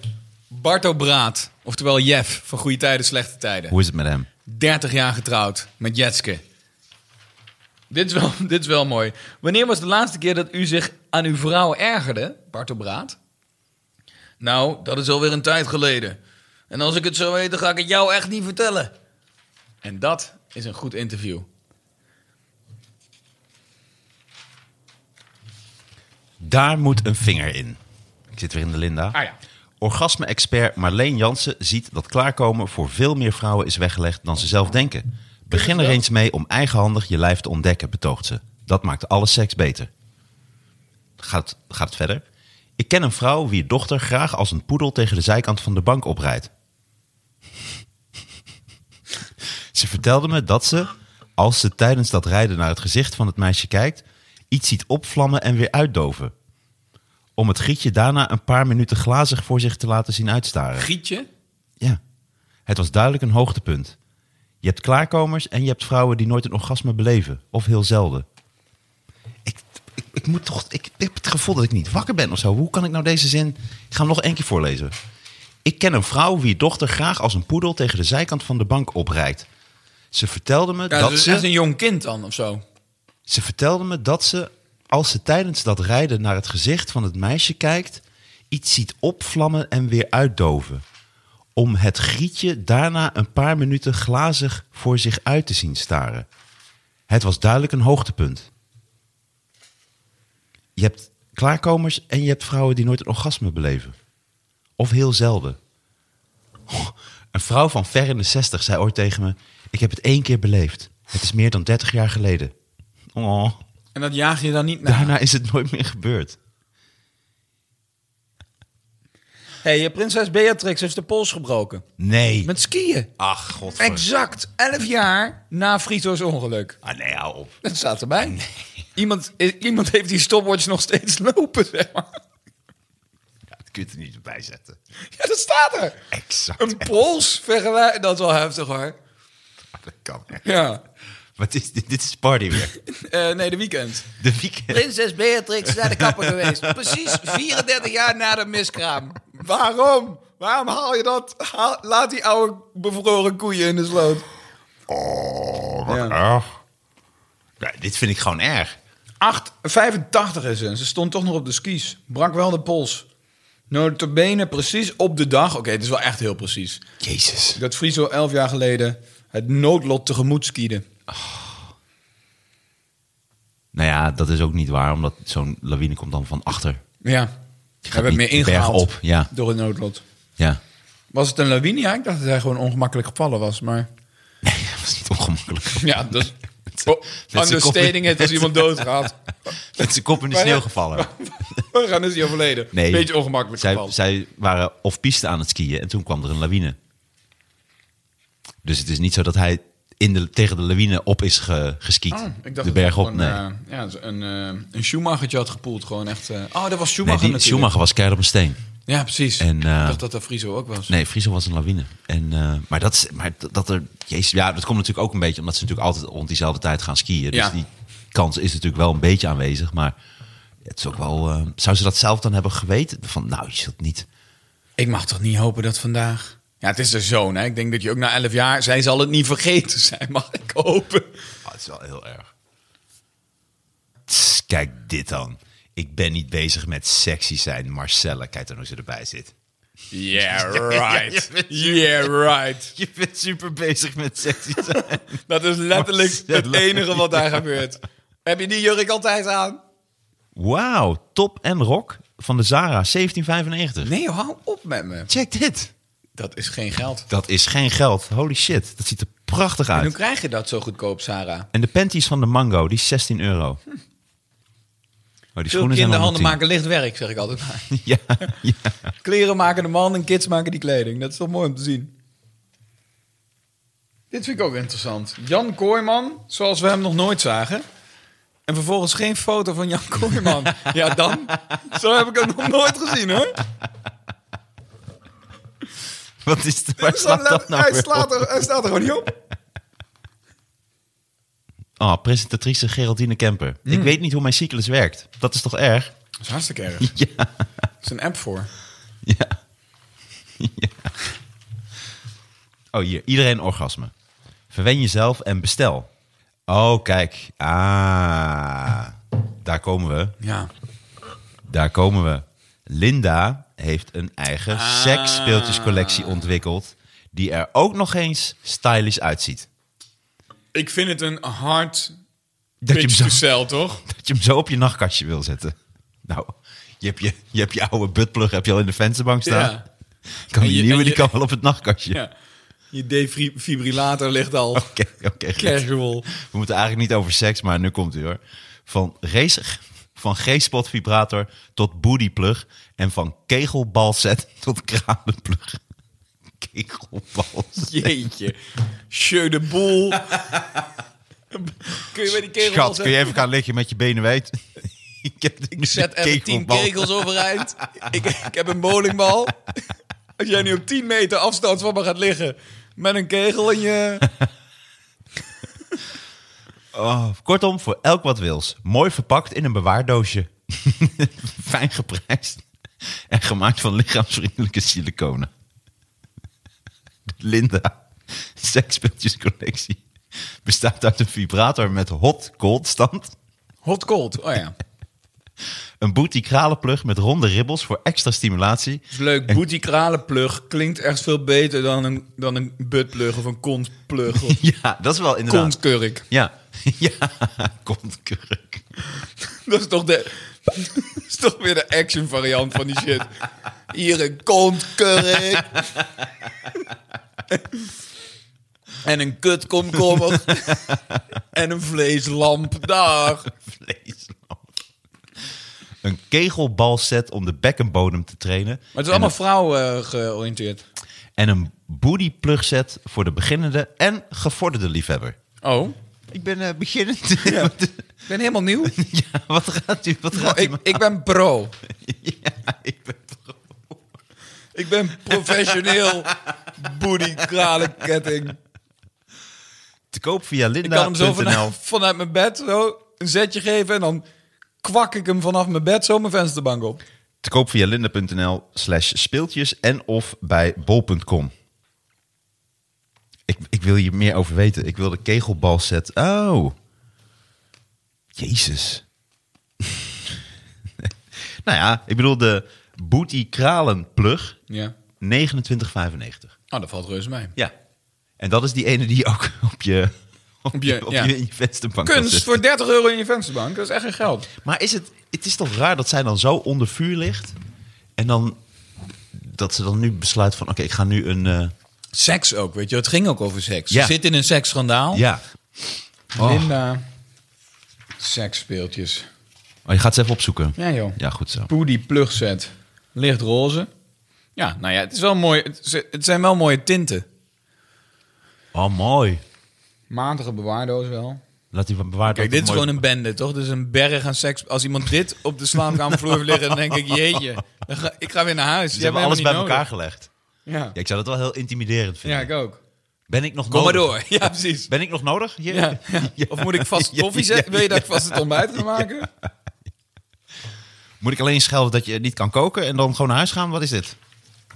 [SPEAKER 3] Barto Braat, oftewel Jeff van Goede Tijden, Slechte Tijden.
[SPEAKER 2] Hoe is het met hem?
[SPEAKER 3] 30 jaar getrouwd met Jetske. Dit is, wel, dit is wel mooi. Wanneer was de laatste keer dat u zich aan uw vrouw ergerde, Bartel Braat? Nou, dat is alweer een tijd geleden. En als ik het zou weten, ga ik het jou echt niet vertellen. En dat is een goed interview.
[SPEAKER 2] Daar moet een vinger in. Ik zit weer in de Linda.
[SPEAKER 3] Ah ja.
[SPEAKER 2] Orgasme-expert Marleen Jansen ziet dat klaarkomen voor veel meer vrouwen is weggelegd dan ze zelf denken. Begin er eens mee om eigenhandig je lijf te ontdekken, betoogt ze. Dat maakt alle seks beter. Gaat, gaat het verder? Ik ken een vrouw wie dochter graag als een poedel tegen de zijkant van de bank oprijdt. Ze vertelde me dat ze, als ze tijdens dat rijden naar het gezicht van het meisje kijkt, iets ziet opvlammen en weer uitdoven. Om het gietje daarna een paar minuten glazig voor zich te laten zien uitstaren.
[SPEAKER 3] Gietje?
[SPEAKER 2] Ja, het was duidelijk een hoogtepunt. Je hebt klaarkomers en je hebt vrouwen die nooit een orgasme beleven, of heel zelden. Ik, ik, ik moet toch, ik, heb het gevoel dat ik niet wakker ben of zo. Hoe kan ik nou deze zin? Ik ga hem nog één keer voorlezen. Ik ken een vrouw wie dochter graag als een poedel tegen de zijkant van de bank oprijdt. Ze vertelde me
[SPEAKER 3] Ja,
[SPEAKER 2] dat
[SPEAKER 3] dat is
[SPEAKER 2] ze...
[SPEAKER 3] echt een jong kind dan, of zo.
[SPEAKER 2] Ze vertelde me dat ze, als ze tijdens dat rijden naar het gezicht van het meisje kijkt, iets ziet opvlammen en weer uitdoven. Om het grietje daarna een paar minuten glazig voor zich uit te zien staren. Het was duidelijk een hoogtepunt. Je hebt klaarkomers en je hebt vrouwen die nooit een orgasme beleven. Of heel zelden. Een vrouw van ver in de zestig zei ooit tegen me... Ik heb het één keer beleefd. Het is meer dan dertig jaar geleden. Oh,
[SPEAKER 3] En dat jaag je dan niet naar.
[SPEAKER 2] daarna is het nooit meer gebeurd.
[SPEAKER 3] Hé, hey, prinses Beatrix heeft de pols gebroken.
[SPEAKER 2] Nee.
[SPEAKER 3] Met skiën.
[SPEAKER 2] Ach, godver...
[SPEAKER 3] Exact 11 jaar na Frito's ongeluk.
[SPEAKER 2] Ah, nee, hou op.
[SPEAKER 3] Dat staat erbij. Iemand, i- iemand heeft die stopwatch nog steeds lopen, zeg maar.
[SPEAKER 2] Ja, dat kun je er niet bij zetten.
[SPEAKER 3] Ja, dat staat er.
[SPEAKER 2] Exact.
[SPEAKER 3] Een pols vergelijken. Dat is wel heftig hoor.
[SPEAKER 2] Dat kan echt.
[SPEAKER 3] Ja.
[SPEAKER 2] Wat is dit? Dit is party weer.
[SPEAKER 3] Eh, nee, de weekend.
[SPEAKER 2] De weekend.
[SPEAKER 3] Prinses Beatrix is naar de kapper geweest. Precies 34 jaar na de miskraam. Waarom? Waarom haal je dat? Haal- laat die oude bevroren koeien in de sloot.
[SPEAKER 2] Oh,
[SPEAKER 3] Ja.
[SPEAKER 2] erg. Ja, dit vind ik gewoon erg.
[SPEAKER 3] 8, 85 is ze. Ze stond toch nog op de skis. Brak wel de pols. Notabene precies op de dag. Oké, het is wel echt heel precies.
[SPEAKER 2] Jezus.
[SPEAKER 3] Dat Friso 11 jaar geleden het noodlot tegemoet skiede.
[SPEAKER 2] Nou ja, dat is ook niet waar, omdat zo'n lawine komt dan van achter.
[SPEAKER 3] Ja. We hebben het meer
[SPEAKER 2] niet de berg
[SPEAKER 3] ingehaald
[SPEAKER 2] op, ja.
[SPEAKER 3] door het noodlot.
[SPEAKER 2] Ja.
[SPEAKER 3] Was het een lawine? Ja, ik dacht dat hij gewoon ongemakkelijk gevallen was. Maar
[SPEAKER 2] Nee, dat was niet ongemakkelijk.
[SPEAKER 3] ja, dus...
[SPEAKER 2] z'n-
[SPEAKER 3] Oh,
[SPEAKER 2] met z'n
[SPEAKER 3] understating
[SPEAKER 2] koppen-
[SPEAKER 3] het als iemand doodgaat.
[SPEAKER 2] Met zijn kop in de
[SPEAKER 3] Maar ja.
[SPEAKER 2] sneeuw gevallen.
[SPEAKER 3] Dan is hij overleden.
[SPEAKER 2] Nee.
[SPEAKER 3] Beetje ongemakkelijk
[SPEAKER 2] Zij,
[SPEAKER 3] gevallen.
[SPEAKER 2] zij waren off piste aan het skiën en toen kwam er een lawine. Dus het is niet zo dat hij in de, tegen de lawine op is ge, geskiet.
[SPEAKER 3] Oh, ik dacht
[SPEAKER 2] de
[SPEAKER 3] dat
[SPEAKER 2] berg
[SPEAKER 3] hij
[SPEAKER 2] op, nee.
[SPEAKER 3] gewoon, eh, ja, een, eh een Schumachertje had gepoeld. Gewoon echt... eh, oh, dat was
[SPEAKER 2] nee,
[SPEAKER 3] Schumacher
[SPEAKER 2] die,
[SPEAKER 3] natuurlijk.
[SPEAKER 2] Schumacher was keihard op een steen.
[SPEAKER 3] Ja, precies.
[SPEAKER 2] En, eh,
[SPEAKER 3] ik dacht dat dat Friso ook was.
[SPEAKER 2] Nee, Friesel was een lawine. En, eh, maar dat, is- maar dat- dat er... Jezus, ja, dat komt natuurlijk ook een beetje... omdat ze natuurlijk altijd rond diezelfde tijd gaan skiën. Dus
[SPEAKER 3] Ja.
[SPEAKER 2] die kans is natuurlijk wel een beetje aanwezig. Maar het is ook wel... eh, zou ze dat zelf dan hebben geweten? Van, nou, je zult niet...
[SPEAKER 3] Ik mag toch niet hopen dat vandaag... Ja, het is de zoon, hè. Ik denk dat je ook na 11 jaar... Zij zal het niet vergeten zijn, mag ik hopen.
[SPEAKER 2] Ah, het is wel heel erg. Tss, kijk dit dan. Ik ben niet bezig met sexy zijn. Marcella, kijk dan hoe ze erbij zit.
[SPEAKER 3] Yeah,
[SPEAKER 2] ja,
[SPEAKER 3] right.
[SPEAKER 2] je bent-
[SPEAKER 3] Yeah, right.
[SPEAKER 2] Je bent super bezig met sexy zijn.
[SPEAKER 3] Dat is letterlijk het
[SPEAKER 2] Marcella.
[SPEAKER 3] enige wat daar gebeurt. Heb je die jurk altijd aan?
[SPEAKER 2] Wauw, top en rock van de Zara 1795.
[SPEAKER 3] Nee, hou op met me.
[SPEAKER 2] Check dit.
[SPEAKER 3] Dat is geen geld.
[SPEAKER 2] Dat is geen geld. Holy shit, dat ziet er prachtig
[SPEAKER 3] En hoe
[SPEAKER 2] uit.
[SPEAKER 3] krijg je dat zo goedkoop, Sarah?
[SPEAKER 2] En de panties van de Mango, die is 16 euro. Oh, die
[SPEAKER 3] Veel
[SPEAKER 2] schoenen zijn allemaal
[SPEAKER 3] kinderhanden
[SPEAKER 2] 10.
[SPEAKER 3] maken licht werk, zeg ik altijd.
[SPEAKER 2] Ja, ja.
[SPEAKER 3] Kleren maken de man en kids maken die kleding. Dat is toch mooi om te zien. Dit vind ik ook interessant. Jan Kooijman, zoals we hem nog nooit zagen. En vervolgens geen foto van Jan Kooijman. ja, dan? Zo heb ik hem nog nooit gezien, hoor.
[SPEAKER 2] Wat is de, waar
[SPEAKER 3] Zo
[SPEAKER 2] slaat dat
[SPEAKER 3] let-
[SPEAKER 2] nou
[SPEAKER 3] hij,
[SPEAKER 2] weer op?
[SPEAKER 3] slaat er, hij staat er gewoon niet op.
[SPEAKER 2] Oh, presentatrice Geraldine Kemper. Ik
[SPEAKER 3] Hmm.
[SPEAKER 2] weet niet hoe mijn cyclus werkt. Dat is toch erg?
[SPEAKER 3] Dat is hartstikke erg.
[SPEAKER 2] Ja.
[SPEAKER 3] Er is een app voor.
[SPEAKER 2] Ja. Ja. Oh, hier. Iedereen orgasme. Verwen jezelf en bestel. Oh, kijk. Ah. Daar komen we.
[SPEAKER 3] Ja.
[SPEAKER 2] Daar komen we. Linda heeft een eigen
[SPEAKER 3] Ah.
[SPEAKER 2] seksspeeltjescollectie ontwikkeld. Die er ook nog eens stylish uitziet.
[SPEAKER 3] Ik vind het een hard
[SPEAKER 2] Dat je hem
[SPEAKER 3] pitch
[SPEAKER 2] zo-
[SPEAKER 3] to sell, toch?
[SPEAKER 2] Dat je hem zo op je nachtkastje wil zetten. Nou, je hebt je, je, hebt je oude buttplug heb je al in de vensterbank staan.
[SPEAKER 3] Ja.
[SPEAKER 2] Kan
[SPEAKER 3] En
[SPEAKER 2] die
[SPEAKER 3] je-
[SPEAKER 2] nieuwe,
[SPEAKER 3] en
[SPEAKER 2] die
[SPEAKER 3] je-
[SPEAKER 2] kan wel op het nachtkastje.
[SPEAKER 3] Ja. Je defibrillator ligt al.
[SPEAKER 2] Oké, oké. goed.
[SPEAKER 3] Casual.
[SPEAKER 2] We moeten eigenlijk niet over seks, maar nu komt u hoor. Van race, van G-spot vibrator tot bodyplug en van kegelbalset tot kranenplug. Kegelbalset.
[SPEAKER 3] Jeetje. Sjeu de boel. kun je bij die kegels
[SPEAKER 2] Schat, kun je even gaan liggen met je benen wijd? Ik heb ik
[SPEAKER 3] Zet even tien kegels overeind. ik, ik heb een bowlingbal. Als jij nu op 10 meter afstand van me gaat liggen met een kegel in je...
[SPEAKER 2] Oh, kortom, voor elk wat wils. Mooi verpakt in een bewaardoosje. Fijn geprijsd. En gemaakt van lichaamsvriendelijke siliconen. Linda, seksspeeltjescollectie. Bestaat uit een vibrator met hot-cold stand.
[SPEAKER 3] Hot cold. Oh ja.
[SPEAKER 2] Een booty kralenplug met ronde ribbels voor extra stimulatie.
[SPEAKER 3] Is leuk. Booty kralenplug klinkt echt veel beter dan een, dan een buttplug of een kontplug. Of
[SPEAKER 2] Ja, dat is wel inderdaad.
[SPEAKER 3] kontkurk.
[SPEAKER 2] Ja, ja, kontkurk.
[SPEAKER 3] Dat is toch de... Dat is toch weer de action variant van die shit. Hier een kontkurk. En een kutkomkommer. En een vleeslamp. Dag.
[SPEAKER 2] Vleeslamp. Een kegelbalset om de bekkenbodem te trainen.
[SPEAKER 3] Maar het
[SPEAKER 2] En
[SPEAKER 3] is allemaal vrouw eh, georiënteerd.
[SPEAKER 2] een- En een booty plugset voor de beginnende en gevorderde liefhebber.
[SPEAKER 3] Oh.
[SPEAKER 2] Ik ben eh, beginnend.
[SPEAKER 3] Ik ben helemaal nieuw.
[SPEAKER 2] wat gaat u? Wat gaat u
[SPEAKER 3] Nou, ik, ik ben pro.
[SPEAKER 2] ja, ik ben toch-
[SPEAKER 3] Ik ben professioneel booty kralenketting.
[SPEAKER 2] te koop via
[SPEAKER 3] Ik kan hem zo
[SPEAKER 2] linda.nl.
[SPEAKER 3] vanuit, vanuit mijn bed zo een zetje geven en dan kwak ik hem vanaf mijn bed zo mijn vensterbank op.
[SPEAKER 2] Te koop via linda.nl slash speeltjes en of bij bol.com. Ik, ik wil hier meer over weten. Ik wil de kegelbalset. Oh. Jezus. nou ja, ik bedoel de booty kralen plug
[SPEAKER 3] Ja.
[SPEAKER 2] 29,95.
[SPEAKER 3] Oh, dat valt reuze mee.
[SPEAKER 2] Ja. En dat is die ene die je ook op je, op
[SPEAKER 3] Op
[SPEAKER 2] je,
[SPEAKER 3] je-
[SPEAKER 2] op
[SPEAKER 3] ja.
[SPEAKER 2] je, in je vensterbank kan
[SPEAKER 3] Kunst
[SPEAKER 2] zetten.
[SPEAKER 3] voor 30 euro in je vensterbank, dat is echt geen geld.
[SPEAKER 2] Maar is het, het is toch raar dat zij dan zo onder vuur ligt. En dan dat ze dan nu besluit van oké, ik ga nu een. eh,
[SPEAKER 3] Seks ook, weet je. Het ging ook over seks.
[SPEAKER 2] Ja.
[SPEAKER 3] Je zit in een seksschandaal.
[SPEAKER 2] ja. Oh.
[SPEAKER 3] Linda, seksspeeltjes.
[SPEAKER 2] Oh, je gaat ze even opzoeken.
[SPEAKER 3] Ja, joh.
[SPEAKER 2] Ja, goed zo.
[SPEAKER 3] Poody plugset, licht roze. Ja, nou ja, het, is wel mooi, het, z- het zijn wel mooie tinten.
[SPEAKER 2] Oh, mooi.
[SPEAKER 3] Matige bewaardoos wel.
[SPEAKER 2] Laat die bewaard.
[SPEAKER 3] Kijk, dit is gewoon een bende, toch? Dit is een berg aan seks. Als iemand dit op de slaapkamervloer heeft liggen, dan denk ik, jeetje, dan ga- ik ga weer naar huis.
[SPEAKER 2] Ze
[SPEAKER 3] Jij
[SPEAKER 2] hebben
[SPEAKER 3] bent
[SPEAKER 2] alles bij
[SPEAKER 3] helemaal
[SPEAKER 2] elkaar
[SPEAKER 3] niet
[SPEAKER 2] gelegd.
[SPEAKER 3] nodig.
[SPEAKER 2] Ja, ik zou dat wel heel intimiderend
[SPEAKER 3] Ja. ja,
[SPEAKER 2] vinden.
[SPEAKER 3] ik ook.
[SPEAKER 2] Ben ik nog
[SPEAKER 3] Kom maar
[SPEAKER 2] nodig?
[SPEAKER 3] door. Ja, precies.
[SPEAKER 2] Ben ik nog nodig? Hier?
[SPEAKER 3] Ja. Of moet ik vast
[SPEAKER 2] Ja,
[SPEAKER 3] koffie
[SPEAKER 2] ja,
[SPEAKER 3] zetten? Wil je dat
[SPEAKER 2] ja.
[SPEAKER 3] ik vast het ontbijt ga maken?
[SPEAKER 2] Moet ik alleen schelden dat je niet kan koken en dan gewoon naar huis gaan? Wat is dit?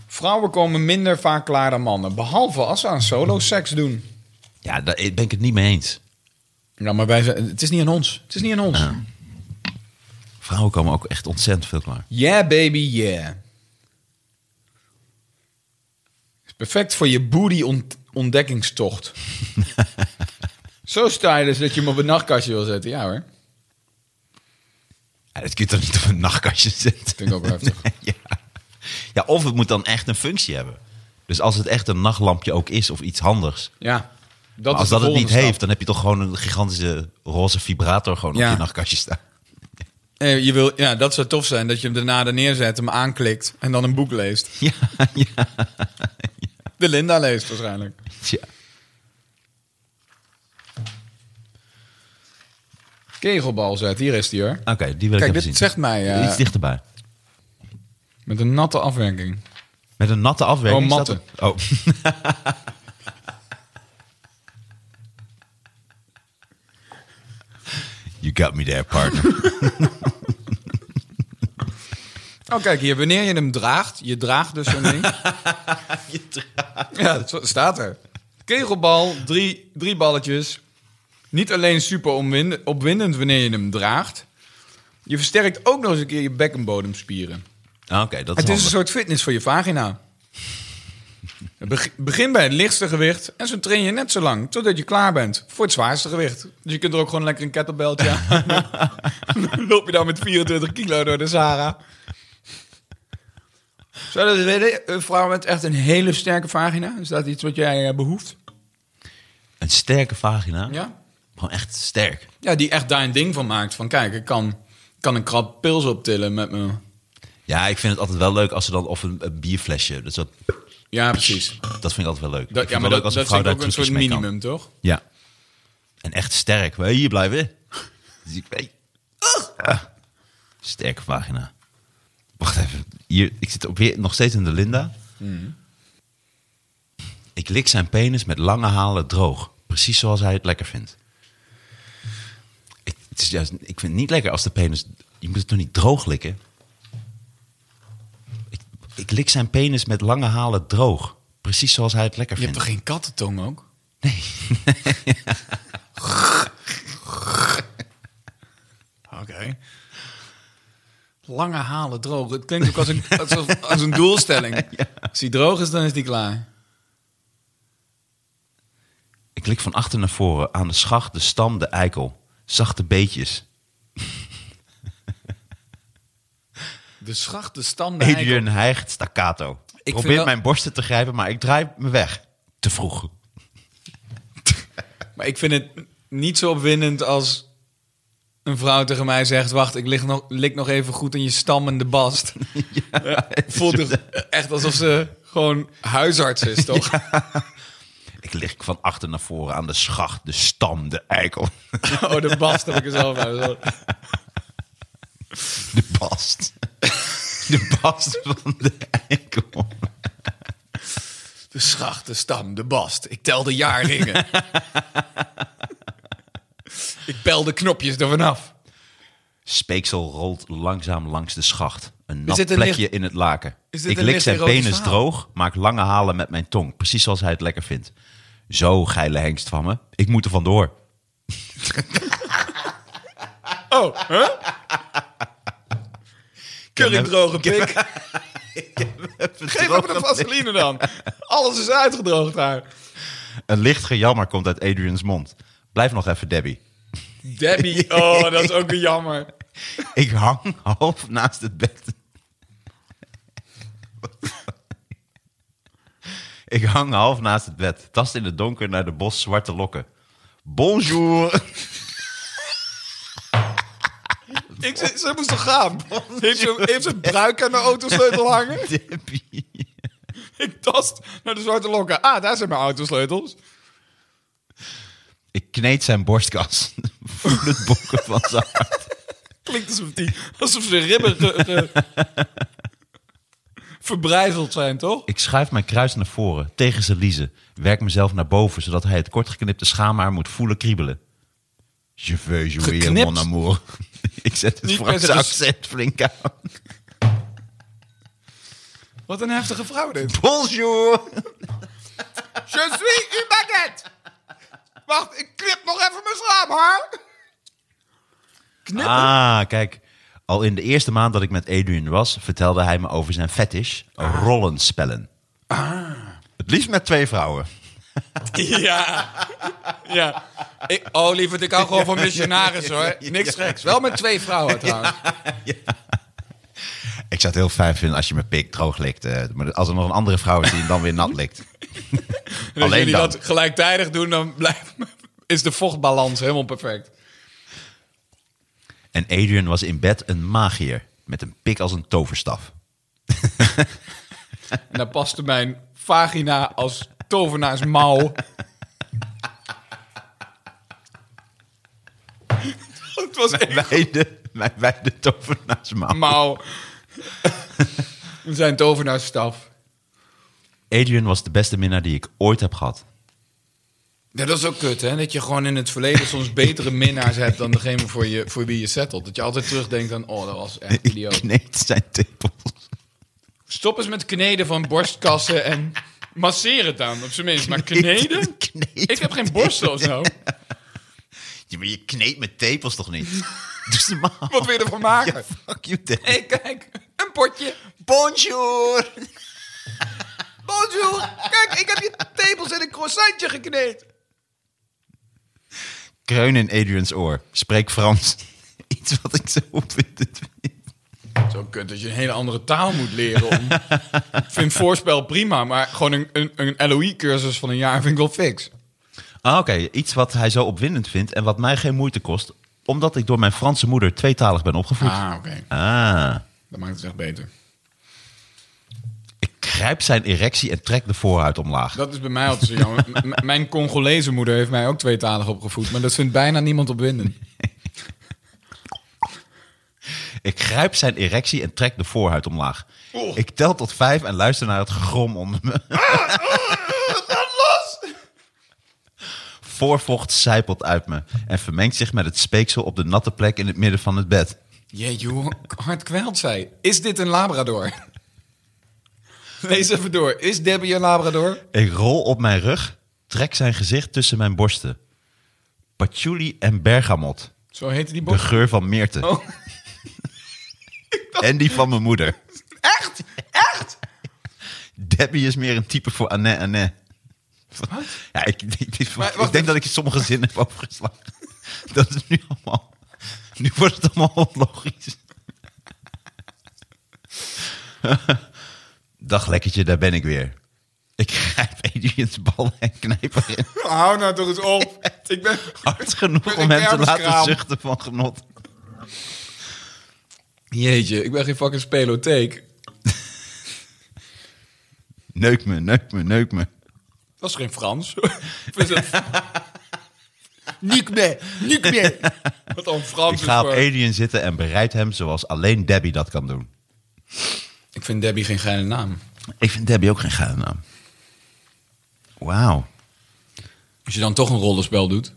[SPEAKER 3] Vrouwen komen minder vaak klaar dan mannen. Behalve als ze aan solo seks doen.
[SPEAKER 2] Ja, daar ben ik het niet mee eens.
[SPEAKER 3] Nou, maar wij zijn, het is niet aan ons. Het is niet aan ons.
[SPEAKER 2] Ja. Vrouwen komen ook echt ontzettend veel klaar.
[SPEAKER 3] Yeah, baby, yeah. Is perfect voor je booty-ontdekkingstocht. Zo stylish dat je hem op een nachtkastje wil zetten. Ja hoor,
[SPEAKER 2] Ja, dat kun je toch niet op een nachtkastje zetten?
[SPEAKER 3] vind ik ook wel heftig.
[SPEAKER 2] ja. ja, of het moet dan echt een functie hebben. Dus als het echt een nachtlampje ook is of iets handigs.
[SPEAKER 3] Ja,
[SPEAKER 2] Maar
[SPEAKER 3] dat
[SPEAKER 2] als
[SPEAKER 3] is de
[SPEAKER 2] dat het niet
[SPEAKER 3] volgende stap.
[SPEAKER 2] heeft, dan heb je toch gewoon een gigantische roze vibrator gewoon
[SPEAKER 3] Ja.
[SPEAKER 2] op je nachtkastje staan.
[SPEAKER 3] Eh, je wil, ja, dat zou tof zijn, dat je hem daarna er neerzet, hem aanklikt en dan een boek leest.
[SPEAKER 2] Ja, ja,
[SPEAKER 3] De Linda leest waarschijnlijk.
[SPEAKER 2] ja.
[SPEAKER 3] Kegelbal zet, hier is die hoor.
[SPEAKER 2] Oké, die wil
[SPEAKER 3] Kijk,
[SPEAKER 2] ik even
[SPEAKER 3] dit
[SPEAKER 2] zien.
[SPEAKER 3] zegt mij eh,
[SPEAKER 2] Iets dichterbij.
[SPEAKER 3] met een natte afwerking.
[SPEAKER 2] Met een natte afwerking.
[SPEAKER 3] Oh,
[SPEAKER 2] staat
[SPEAKER 3] matte.
[SPEAKER 2] er- Oh. you got me there, partner.
[SPEAKER 3] Oh, kijk hier, wanneer je hem draagt, je draagt dus zo'n ding. Ja, dat zo- staat er. Kegelbal, drie, drie balletjes. Niet alleen super omwind- opwindend wanneer je hem draagt. Je versterkt ook nog eens een keer je bekkenbodemspieren.
[SPEAKER 2] Ah, Oké, dat is
[SPEAKER 3] Het is een
[SPEAKER 2] handig.
[SPEAKER 3] soort fitness voor je vagina. Beg- Begin bij het lichtste gewicht en zo train je net zo lang totdat je klaar bent voor het zwaarste gewicht. Dus je kunt er ook gewoon lekker een kettlebelltje aan. Dan loop je dan met 24 kilo door de Sahara. Zou dat willen? Een vrouw met echt een hele sterke vagina? Is dat iets wat jij eh, behoeft?
[SPEAKER 2] Een sterke vagina.
[SPEAKER 3] Ja?
[SPEAKER 2] Gewoon echt sterk.
[SPEAKER 3] Ja, die echt daar een ding van maakt. Van kijk, ik kan, kan een krab pils optillen met me.
[SPEAKER 2] Ja, ik vind het altijd wel leuk als ze dan... Of een, een bierflesje. Dus dat,
[SPEAKER 3] Ja, precies.
[SPEAKER 2] dat vind ik altijd wel leuk.
[SPEAKER 3] Dat,
[SPEAKER 2] Ik vind
[SPEAKER 3] ja,
[SPEAKER 2] het
[SPEAKER 3] maar
[SPEAKER 2] wel
[SPEAKER 3] dat,
[SPEAKER 2] leuk
[SPEAKER 3] dat
[SPEAKER 2] als
[SPEAKER 3] vind
[SPEAKER 2] vrouw
[SPEAKER 3] ik
[SPEAKER 2] daar
[SPEAKER 3] ook een
[SPEAKER 2] trucjes
[SPEAKER 3] soort
[SPEAKER 2] mee kan.
[SPEAKER 3] minimum, toch?
[SPEAKER 2] Ja. En echt sterk. Wil je hier blijven? Dus ik weet... Ah! Ja. Sterke vagina. Wacht even. Hier, ik zit op weer, nog steeds in de Linda.
[SPEAKER 3] Mhm.
[SPEAKER 2] Ik lik zijn penis met lange halen droog. Precies zoals hij het lekker vindt. Het is juist, ik vind het niet lekker als de penis... Je moet het toch niet droog likken? Ik, ik lik zijn penis met lange halen droog. Precies zoals hij het lekker
[SPEAKER 3] Je hebt
[SPEAKER 2] vindt.
[SPEAKER 3] toch geen kattentong ook? Nee. Oké. Lange halen droog. Het klinkt ook als een, als, als een doelstelling. Als die droog is, dan is die klaar.
[SPEAKER 2] Ik lik van achter naar voren aan de schacht, de stam, de eikel. Zachte beetjes.
[SPEAKER 3] De schacht, de stam, de eikel.
[SPEAKER 2] Adrian hijgt staccato. Ik
[SPEAKER 3] vind
[SPEAKER 2] probeer
[SPEAKER 3] wel-
[SPEAKER 2] mijn borsten te grijpen, maar ik draai me weg. Te vroeg.
[SPEAKER 3] Maar ik vind het niet zo opwindend als een vrouw tegen mij zegt... wacht, ik lig nog, lik nog even goed in je stammende bast. Het voelt toch echt alsof ze gewoon huisarts is, toch?
[SPEAKER 2] Ik lig van achter naar voren aan de schacht, de stam, de eikel.
[SPEAKER 3] Oh, de bast heb ik er zelf uit.
[SPEAKER 2] De bast. De bast van de eikel.
[SPEAKER 3] De schacht, de stam, de bast. Ik tel de jaarringen. ik pel de knopjes er vanaf.
[SPEAKER 2] Speeksel rolt langzaam langs de schacht. Een nat
[SPEAKER 3] dit een
[SPEAKER 2] plekje
[SPEAKER 3] licht-
[SPEAKER 2] in het laken.
[SPEAKER 3] Is dit
[SPEAKER 2] Ik
[SPEAKER 3] een
[SPEAKER 2] lik
[SPEAKER 3] licht
[SPEAKER 2] zijn
[SPEAKER 3] erotisch
[SPEAKER 2] penis
[SPEAKER 3] verhaal?
[SPEAKER 2] droog, maak lange halen met mijn tong. Precies zoals hij het lekker vindt. Zo, geile hengst van me. Ik moet er vandoor.
[SPEAKER 3] Oh, hè? Curry droge pik. Geef even de vaseline dan. Alles is uitgedroogd daar.
[SPEAKER 2] Een licht gejammer komt uit Adrian's mond. Blijf nog even, Debbie.
[SPEAKER 3] Debbie, oh, dat is ook weer jammer.
[SPEAKER 2] Ik hang half naast het bed. Ik hang half naast het bed. Tast in het donker naar de bos zwarte lokken. Bonjour.
[SPEAKER 3] Ik, ze, ze moest toch gaan? Heeft ze, heeft ze een bruik aan de autosleutel hangen?
[SPEAKER 2] Debbie.
[SPEAKER 3] Ik tast naar de zwarte lokken. Ah, daar zijn mijn autosleutels.
[SPEAKER 2] Ik kneed zijn borstkas. Voel het bonken van zijn hart.
[SPEAKER 3] Klinkt alsof, die, alsof ze ribben ge- ge- verbrijzeld zijn, toch?
[SPEAKER 2] Ik schuif mijn kruis naar voren, tegen zijn liezen. Werk mezelf naar boven, zodat hij het kortgeknipte schaamhaar moet voelen kriebelen. Je veux jouer,
[SPEAKER 3] Geknipt?
[SPEAKER 2] mon amour. Ik zet het
[SPEAKER 3] Niet met
[SPEAKER 2] Franse
[SPEAKER 3] een-
[SPEAKER 2] accent flink aan.
[SPEAKER 3] Wat een heftige vrouw dit.
[SPEAKER 2] Bonjour.
[SPEAKER 3] Je suis une baguette. Wacht, ik knip nog even mijn slaaphaar. Knippen?
[SPEAKER 2] Ah, kijk. Al in de eerste maand dat ik met Adrian was, vertelde hij me over zijn fetish. Rollenspellen. Ah. Het liefst met twee vrouwen.
[SPEAKER 3] Ja. ja. Ik, oh, lieverd, ik hou gewoon van missionaris, hoor. Niks geks. Wel met twee vrouwen, trouwens.
[SPEAKER 2] Ik zou het heel fijn vinden als je mijn pik droog likt. eh, maar als er nog een andere vrouw is die hem dan weer nat likt.
[SPEAKER 3] En als
[SPEAKER 2] Alleen
[SPEAKER 3] Dus jullie
[SPEAKER 2] dan.
[SPEAKER 3] dat gelijktijdig doen, dan blijft, is de vochtbalans helemaal perfect.
[SPEAKER 2] En Adrian was in bed een magier. Met een pik als een toverstaf.
[SPEAKER 3] En daar paste mijn vagina als tovenaarsmouw. Het was echt
[SPEAKER 2] Wijde, mijn wijde tovenaarsmaal.
[SPEAKER 3] mouw. We zijn tovenaarsstaf.
[SPEAKER 2] Adrian was de beste minnaar die ik ooit heb gehad.
[SPEAKER 3] Ja, dat is ook kut, hè? Dat je gewoon in het verleden soms betere minnaars hebt dan degene voor, je, voor wie je settelt. Dat je altijd terugdenkt aan, oh, dat was echt
[SPEAKER 2] Ik
[SPEAKER 3] idioot.
[SPEAKER 2] kneed zijn tepels.
[SPEAKER 3] Stop eens met kneden van borstkassen en masseer het dan, op zijn minst. Maar kneden?
[SPEAKER 2] Kneed
[SPEAKER 3] Ik heb geen borstel of zo.
[SPEAKER 2] Ja, maar je kneedt met tepels toch niet? Doe eens normaal.
[SPEAKER 3] Wat wil je ervan maken?
[SPEAKER 2] Ja, fuck you, Dave.
[SPEAKER 3] Hé, kijk, een potje.
[SPEAKER 2] Bonjour.
[SPEAKER 3] Bonjour. Kijk, ik heb je tepels in een croissantje gekneed.
[SPEAKER 2] Kreun in Adrian's oor. Spreek Frans. Iets wat ik zo opwindend vind.
[SPEAKER 3] Zo kunt dat je een hele andere taal moet leren. Om... ik vind voorspel prima, maar gewoon een, een, een LOE-cursus van een jaar vind ik wel fix.
[SPEAKER 2] Ah, oké. Iets wat hij zo opwindend vindt en wat mij geen moeite kost. Omdat ik door mijn Franse moeder tweetalig ben opgevoed.
[SPEAKER 3] Ah, oké.
[SPEAKER 2] Ah.
[SPEAKER 3] Dat maakt het echt beter.
[SPEAKER 2] Ik grijp zijn erectie en trek de voorhuid omlaag.
[SPEAKER 3] Dat is bij mij altijd zo jammer. M- m- mijn Congolese moeder heeft mij ook tweetalig opgevoed, maar dat vindt bijna niemand opwindend.
[SPEAKER 2] Ik grijp zijn erectie en trek de voorhuid omlaag.
[SPEAKER 3] Oeh.
[SPEAKER 2] Ik tel tot vijf en luister naar het gegrom onder me.
[SPEAKER 3] Los!
[SPEAKER 2] voorvocht sijpelt uit me en vermengt zich met het speeksel op de natte plek in het midden van het bed.
[SPEAKER 3] Jeetje, hoe hard kwelt zij. Is dit een labrador? Lees even door. Is Debbie een labrador?
[SPEAKER 2] Ik rol op mijn rug, trek zijn gezicht tussen mijn borsten. Patchouli en bergamot,
[SPEAKER 3] Zo heette die
[SPEAKER 2] de
[SPEAKER 3] bocht.
[SPEAKER 2] geur van Meerte.
[SPEAKER 3] Oh.
[SPEAKER 2] en die van mijn moeder.
[SPEAKER 3] Echt? Echt?
[SPEAKER 2] Debbie is meer een type voor Anne Anne. Ja, ik, ik, ik-
[SPEAKER 3] Maar
[SPEAKER 2] ik
[SPEAKER 3] wacht
[SPEAKER 2] denk dat ik sommige zinnen heb overgeslagen. Dat is nu allemaal... Nu wordt het allemaal onlogisch. Dag lekkertje, daar ben ik weer. Ik grijp Adrian's bal en knijp erin.
[SPEAKER 3] Hou nou toch eens op. Ik ben...
[SPEAKER 2] Hard genoeg
[SPEAKER 3] Met
[SPEAKER 2] om
[SPEAKER 3] een
[SPEAKER 2] hem te laten
[SPEAKER 3] kermiskraam.
[SPEAKER 2] zuchten van genot.
[SPEAKER 3] Jeetje, ik ben geen fucking spelotheek.
[SPEAKER 2] Neuk me, neuk me, neuk me.
[SPEAKER 3] Dat is geen Frans. Of is het... Niet meer, niet meer. Wat dan Frans
[SPEAKER 2] Ik
[SPEAKER 3] is
[SPEAKER 2] ga op
[SPEAKER 3] voor-
[SPEAKER 2] Adrian zitten en bereid hem zoals alleen Debbie dat kan doen.
[SPEAKER 3] Ik vind Debbie geen geile naam.
[SPEAKER 2] Ik vind Debbie ook geen geile naam. Wauw.
[SPEAKER 3] Als je dan toch een rollenspel doet,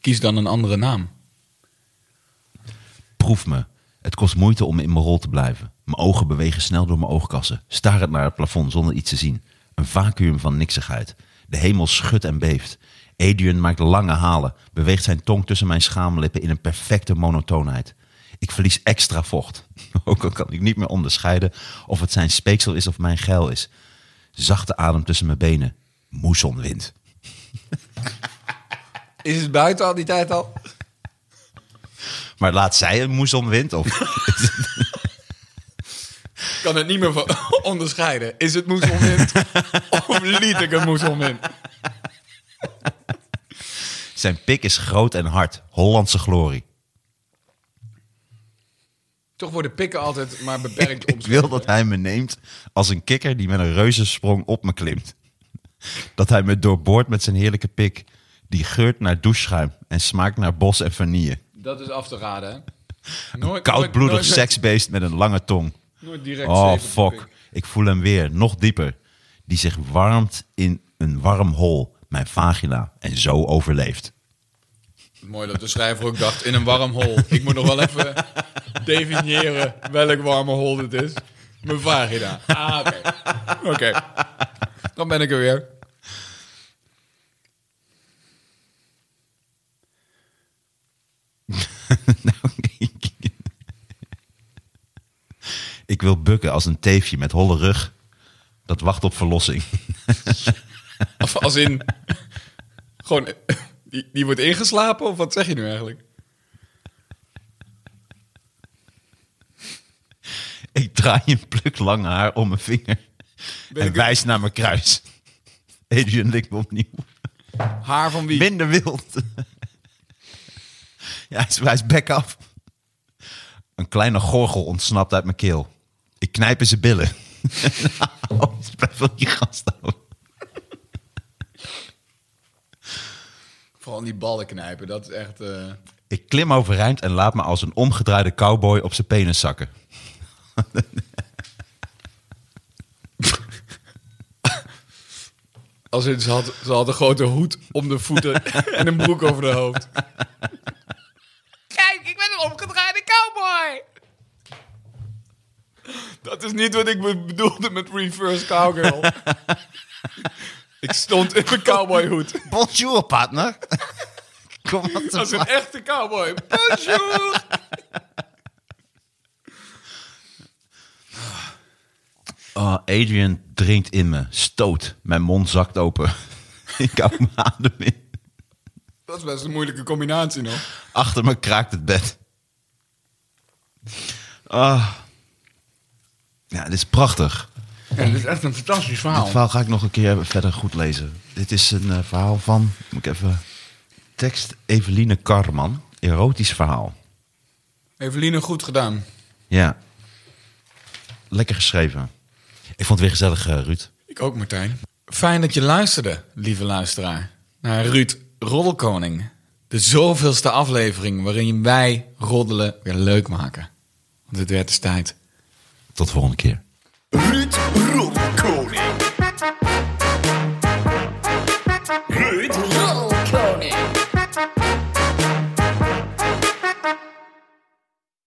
[SPEAKER 3] kies dan een andere naam.
[SPEAKER 2] Proef me. Het kost moeite om in mijn rol te blijven. Mijn ogen bewegen snel door mijn oogkassen. Starend naar het plafond zonder iets te zien. Een vacuüm van niksigheid. De hemel schudt en beeft. Adrian maakt lange halen. Beweegt zijn tong tussen mijn schaamlippen in een perfecte monotoonheid. Ik verlies extra vocht. Ook al kan ik niet meer onderscheiden of het zijn speeksel is of mijn geil is. Zachte adem tussen mijn benen. Moesonwind.
[SPEAKER 3] Is het buiten al die tijd al?
[SPEAKER 2] Maar laat zij een moesonwind of...
[SPEAKER 3] kan het niet meer van onderscheiden. Is het moezelwind of liet ik het moezelwind?
[SPEAKER 2] Zijn pik is groot en hard. Hollandse glorie.
[SPEAKER 3] Toch worden pikken altijd maar beperkt
[SPEAKER 2] Ik wil dat hij me neemt als een kikker die met een reuzensprong op me klimt. Dat hij me doorboort met zijn heerlijke pik. Die geurt naar doucheschuim en smaakt naar bos en vanille.
[SPEAKER 3] Dat is af te raden, hè? Nooit,
[SPEAKER 2] Koudbloedig
[SPEAKER 3] nooit- nooit-
[SPEAKER 2] seksbeest met een lange tong.
[SPEAKER 3] Nooit direct
[SPEAKER 2] Oh
[SPEAKER 3] zeven op de
[SPEAKER 2] fuck, ik voel hem weer, nog dieper. Die zich warmt in een warm hol, mijn vagina, en zo overleeft.
[SPEAKER 3] pik. Mooi dat de schrijver ook dacht, in een warm hol. Ik moet nog wel even definiëren welk warme hol dit is. Mijn vagina. Ah, oké. Oké. Dan ben ik er weer.
[SPEAKER 2] Nou, ik- ik wil bukken als een teefje met holle rug. Dat wacht op verlossing.
[SPEAKER 3] Of als in... Gewoon... Die, die wordt ingeslapen of wat zeg je nu eigenlijk?
[SPEAKER 2] Ik draai een pluk lang haar om mijn vinger.
[SPEAKER 3] Ben
[SPEAKER 2] en
[SPEAKER 3] ik-
[SPEAKER 2] wijs naar mijn kruis. Adrian likt me opnieuw.
[SPEAKER 3] Haar van wie?
[SPEAKER 2] Minder wild. ja, hij is- hij is back af. Een kleine gorgel ontsnapt uit mijn keel. Ik knijp in zijn billen. oh, het is best wel die gast ook.
[SPEAKER 3] Vooral die ballen knijpen, dat is echt... eh,
[SPEAKER 2] Ik klim overeind en laat me als een omgedraaide cowboy op zijn penis zakken.
[SPEAKER 3] Als in, ze had, ze had een grote hoed om de voeten en een broek over de hoofd. Kijk, ik ben een omgedraaide cowboy. Dat is niet wat ik be- bedoelde met reverse cowgirl. ik stond in mijn cowboyhoed.
[SPEAKER 2] Bonjour, partner. Kom wat
[SPEAKER 3] Als een echte cowboy. Bonjour.
[SPEAKER 2] Oh, Adrian drinkt in me, stoot. Mijn mond zakt open. Ik hou mijn adem in.
[SPEAKER 3] Dat is best een moeilijke combinatie nog.
[SPEAKER 2] Achter me kraakt het bed. Ah, Ja, dit is prachtig.
[SPEAKER 3] Ja, dit is echt een fantastisch
[SPEAKER 2] Dit verhaal ga ik nog een keer even verder goed lezen. Dit is een eh, verhaal van, moet ik even... Tekst Eveline Karman. Erotisch verhaal.
[SPEAKER 3] Eveline, goed gedaan.
[SPEAKER 2] Ja. Lekker geschreven. Ik vond het weer gezellig, eh, Ruud.
[SPEAKER 3] Ik ook, Martijn. Fijn dat je luisterde, lieve luisteraar, naar Ruud Roddelkoning. De zoveelste aflevering waarin wij roddelen weer leuk maken. Want het werd dus tijd.
[SPEAKER 2] Tot volgende keer.
[SPEAKER 1] Ruud Rolkoning.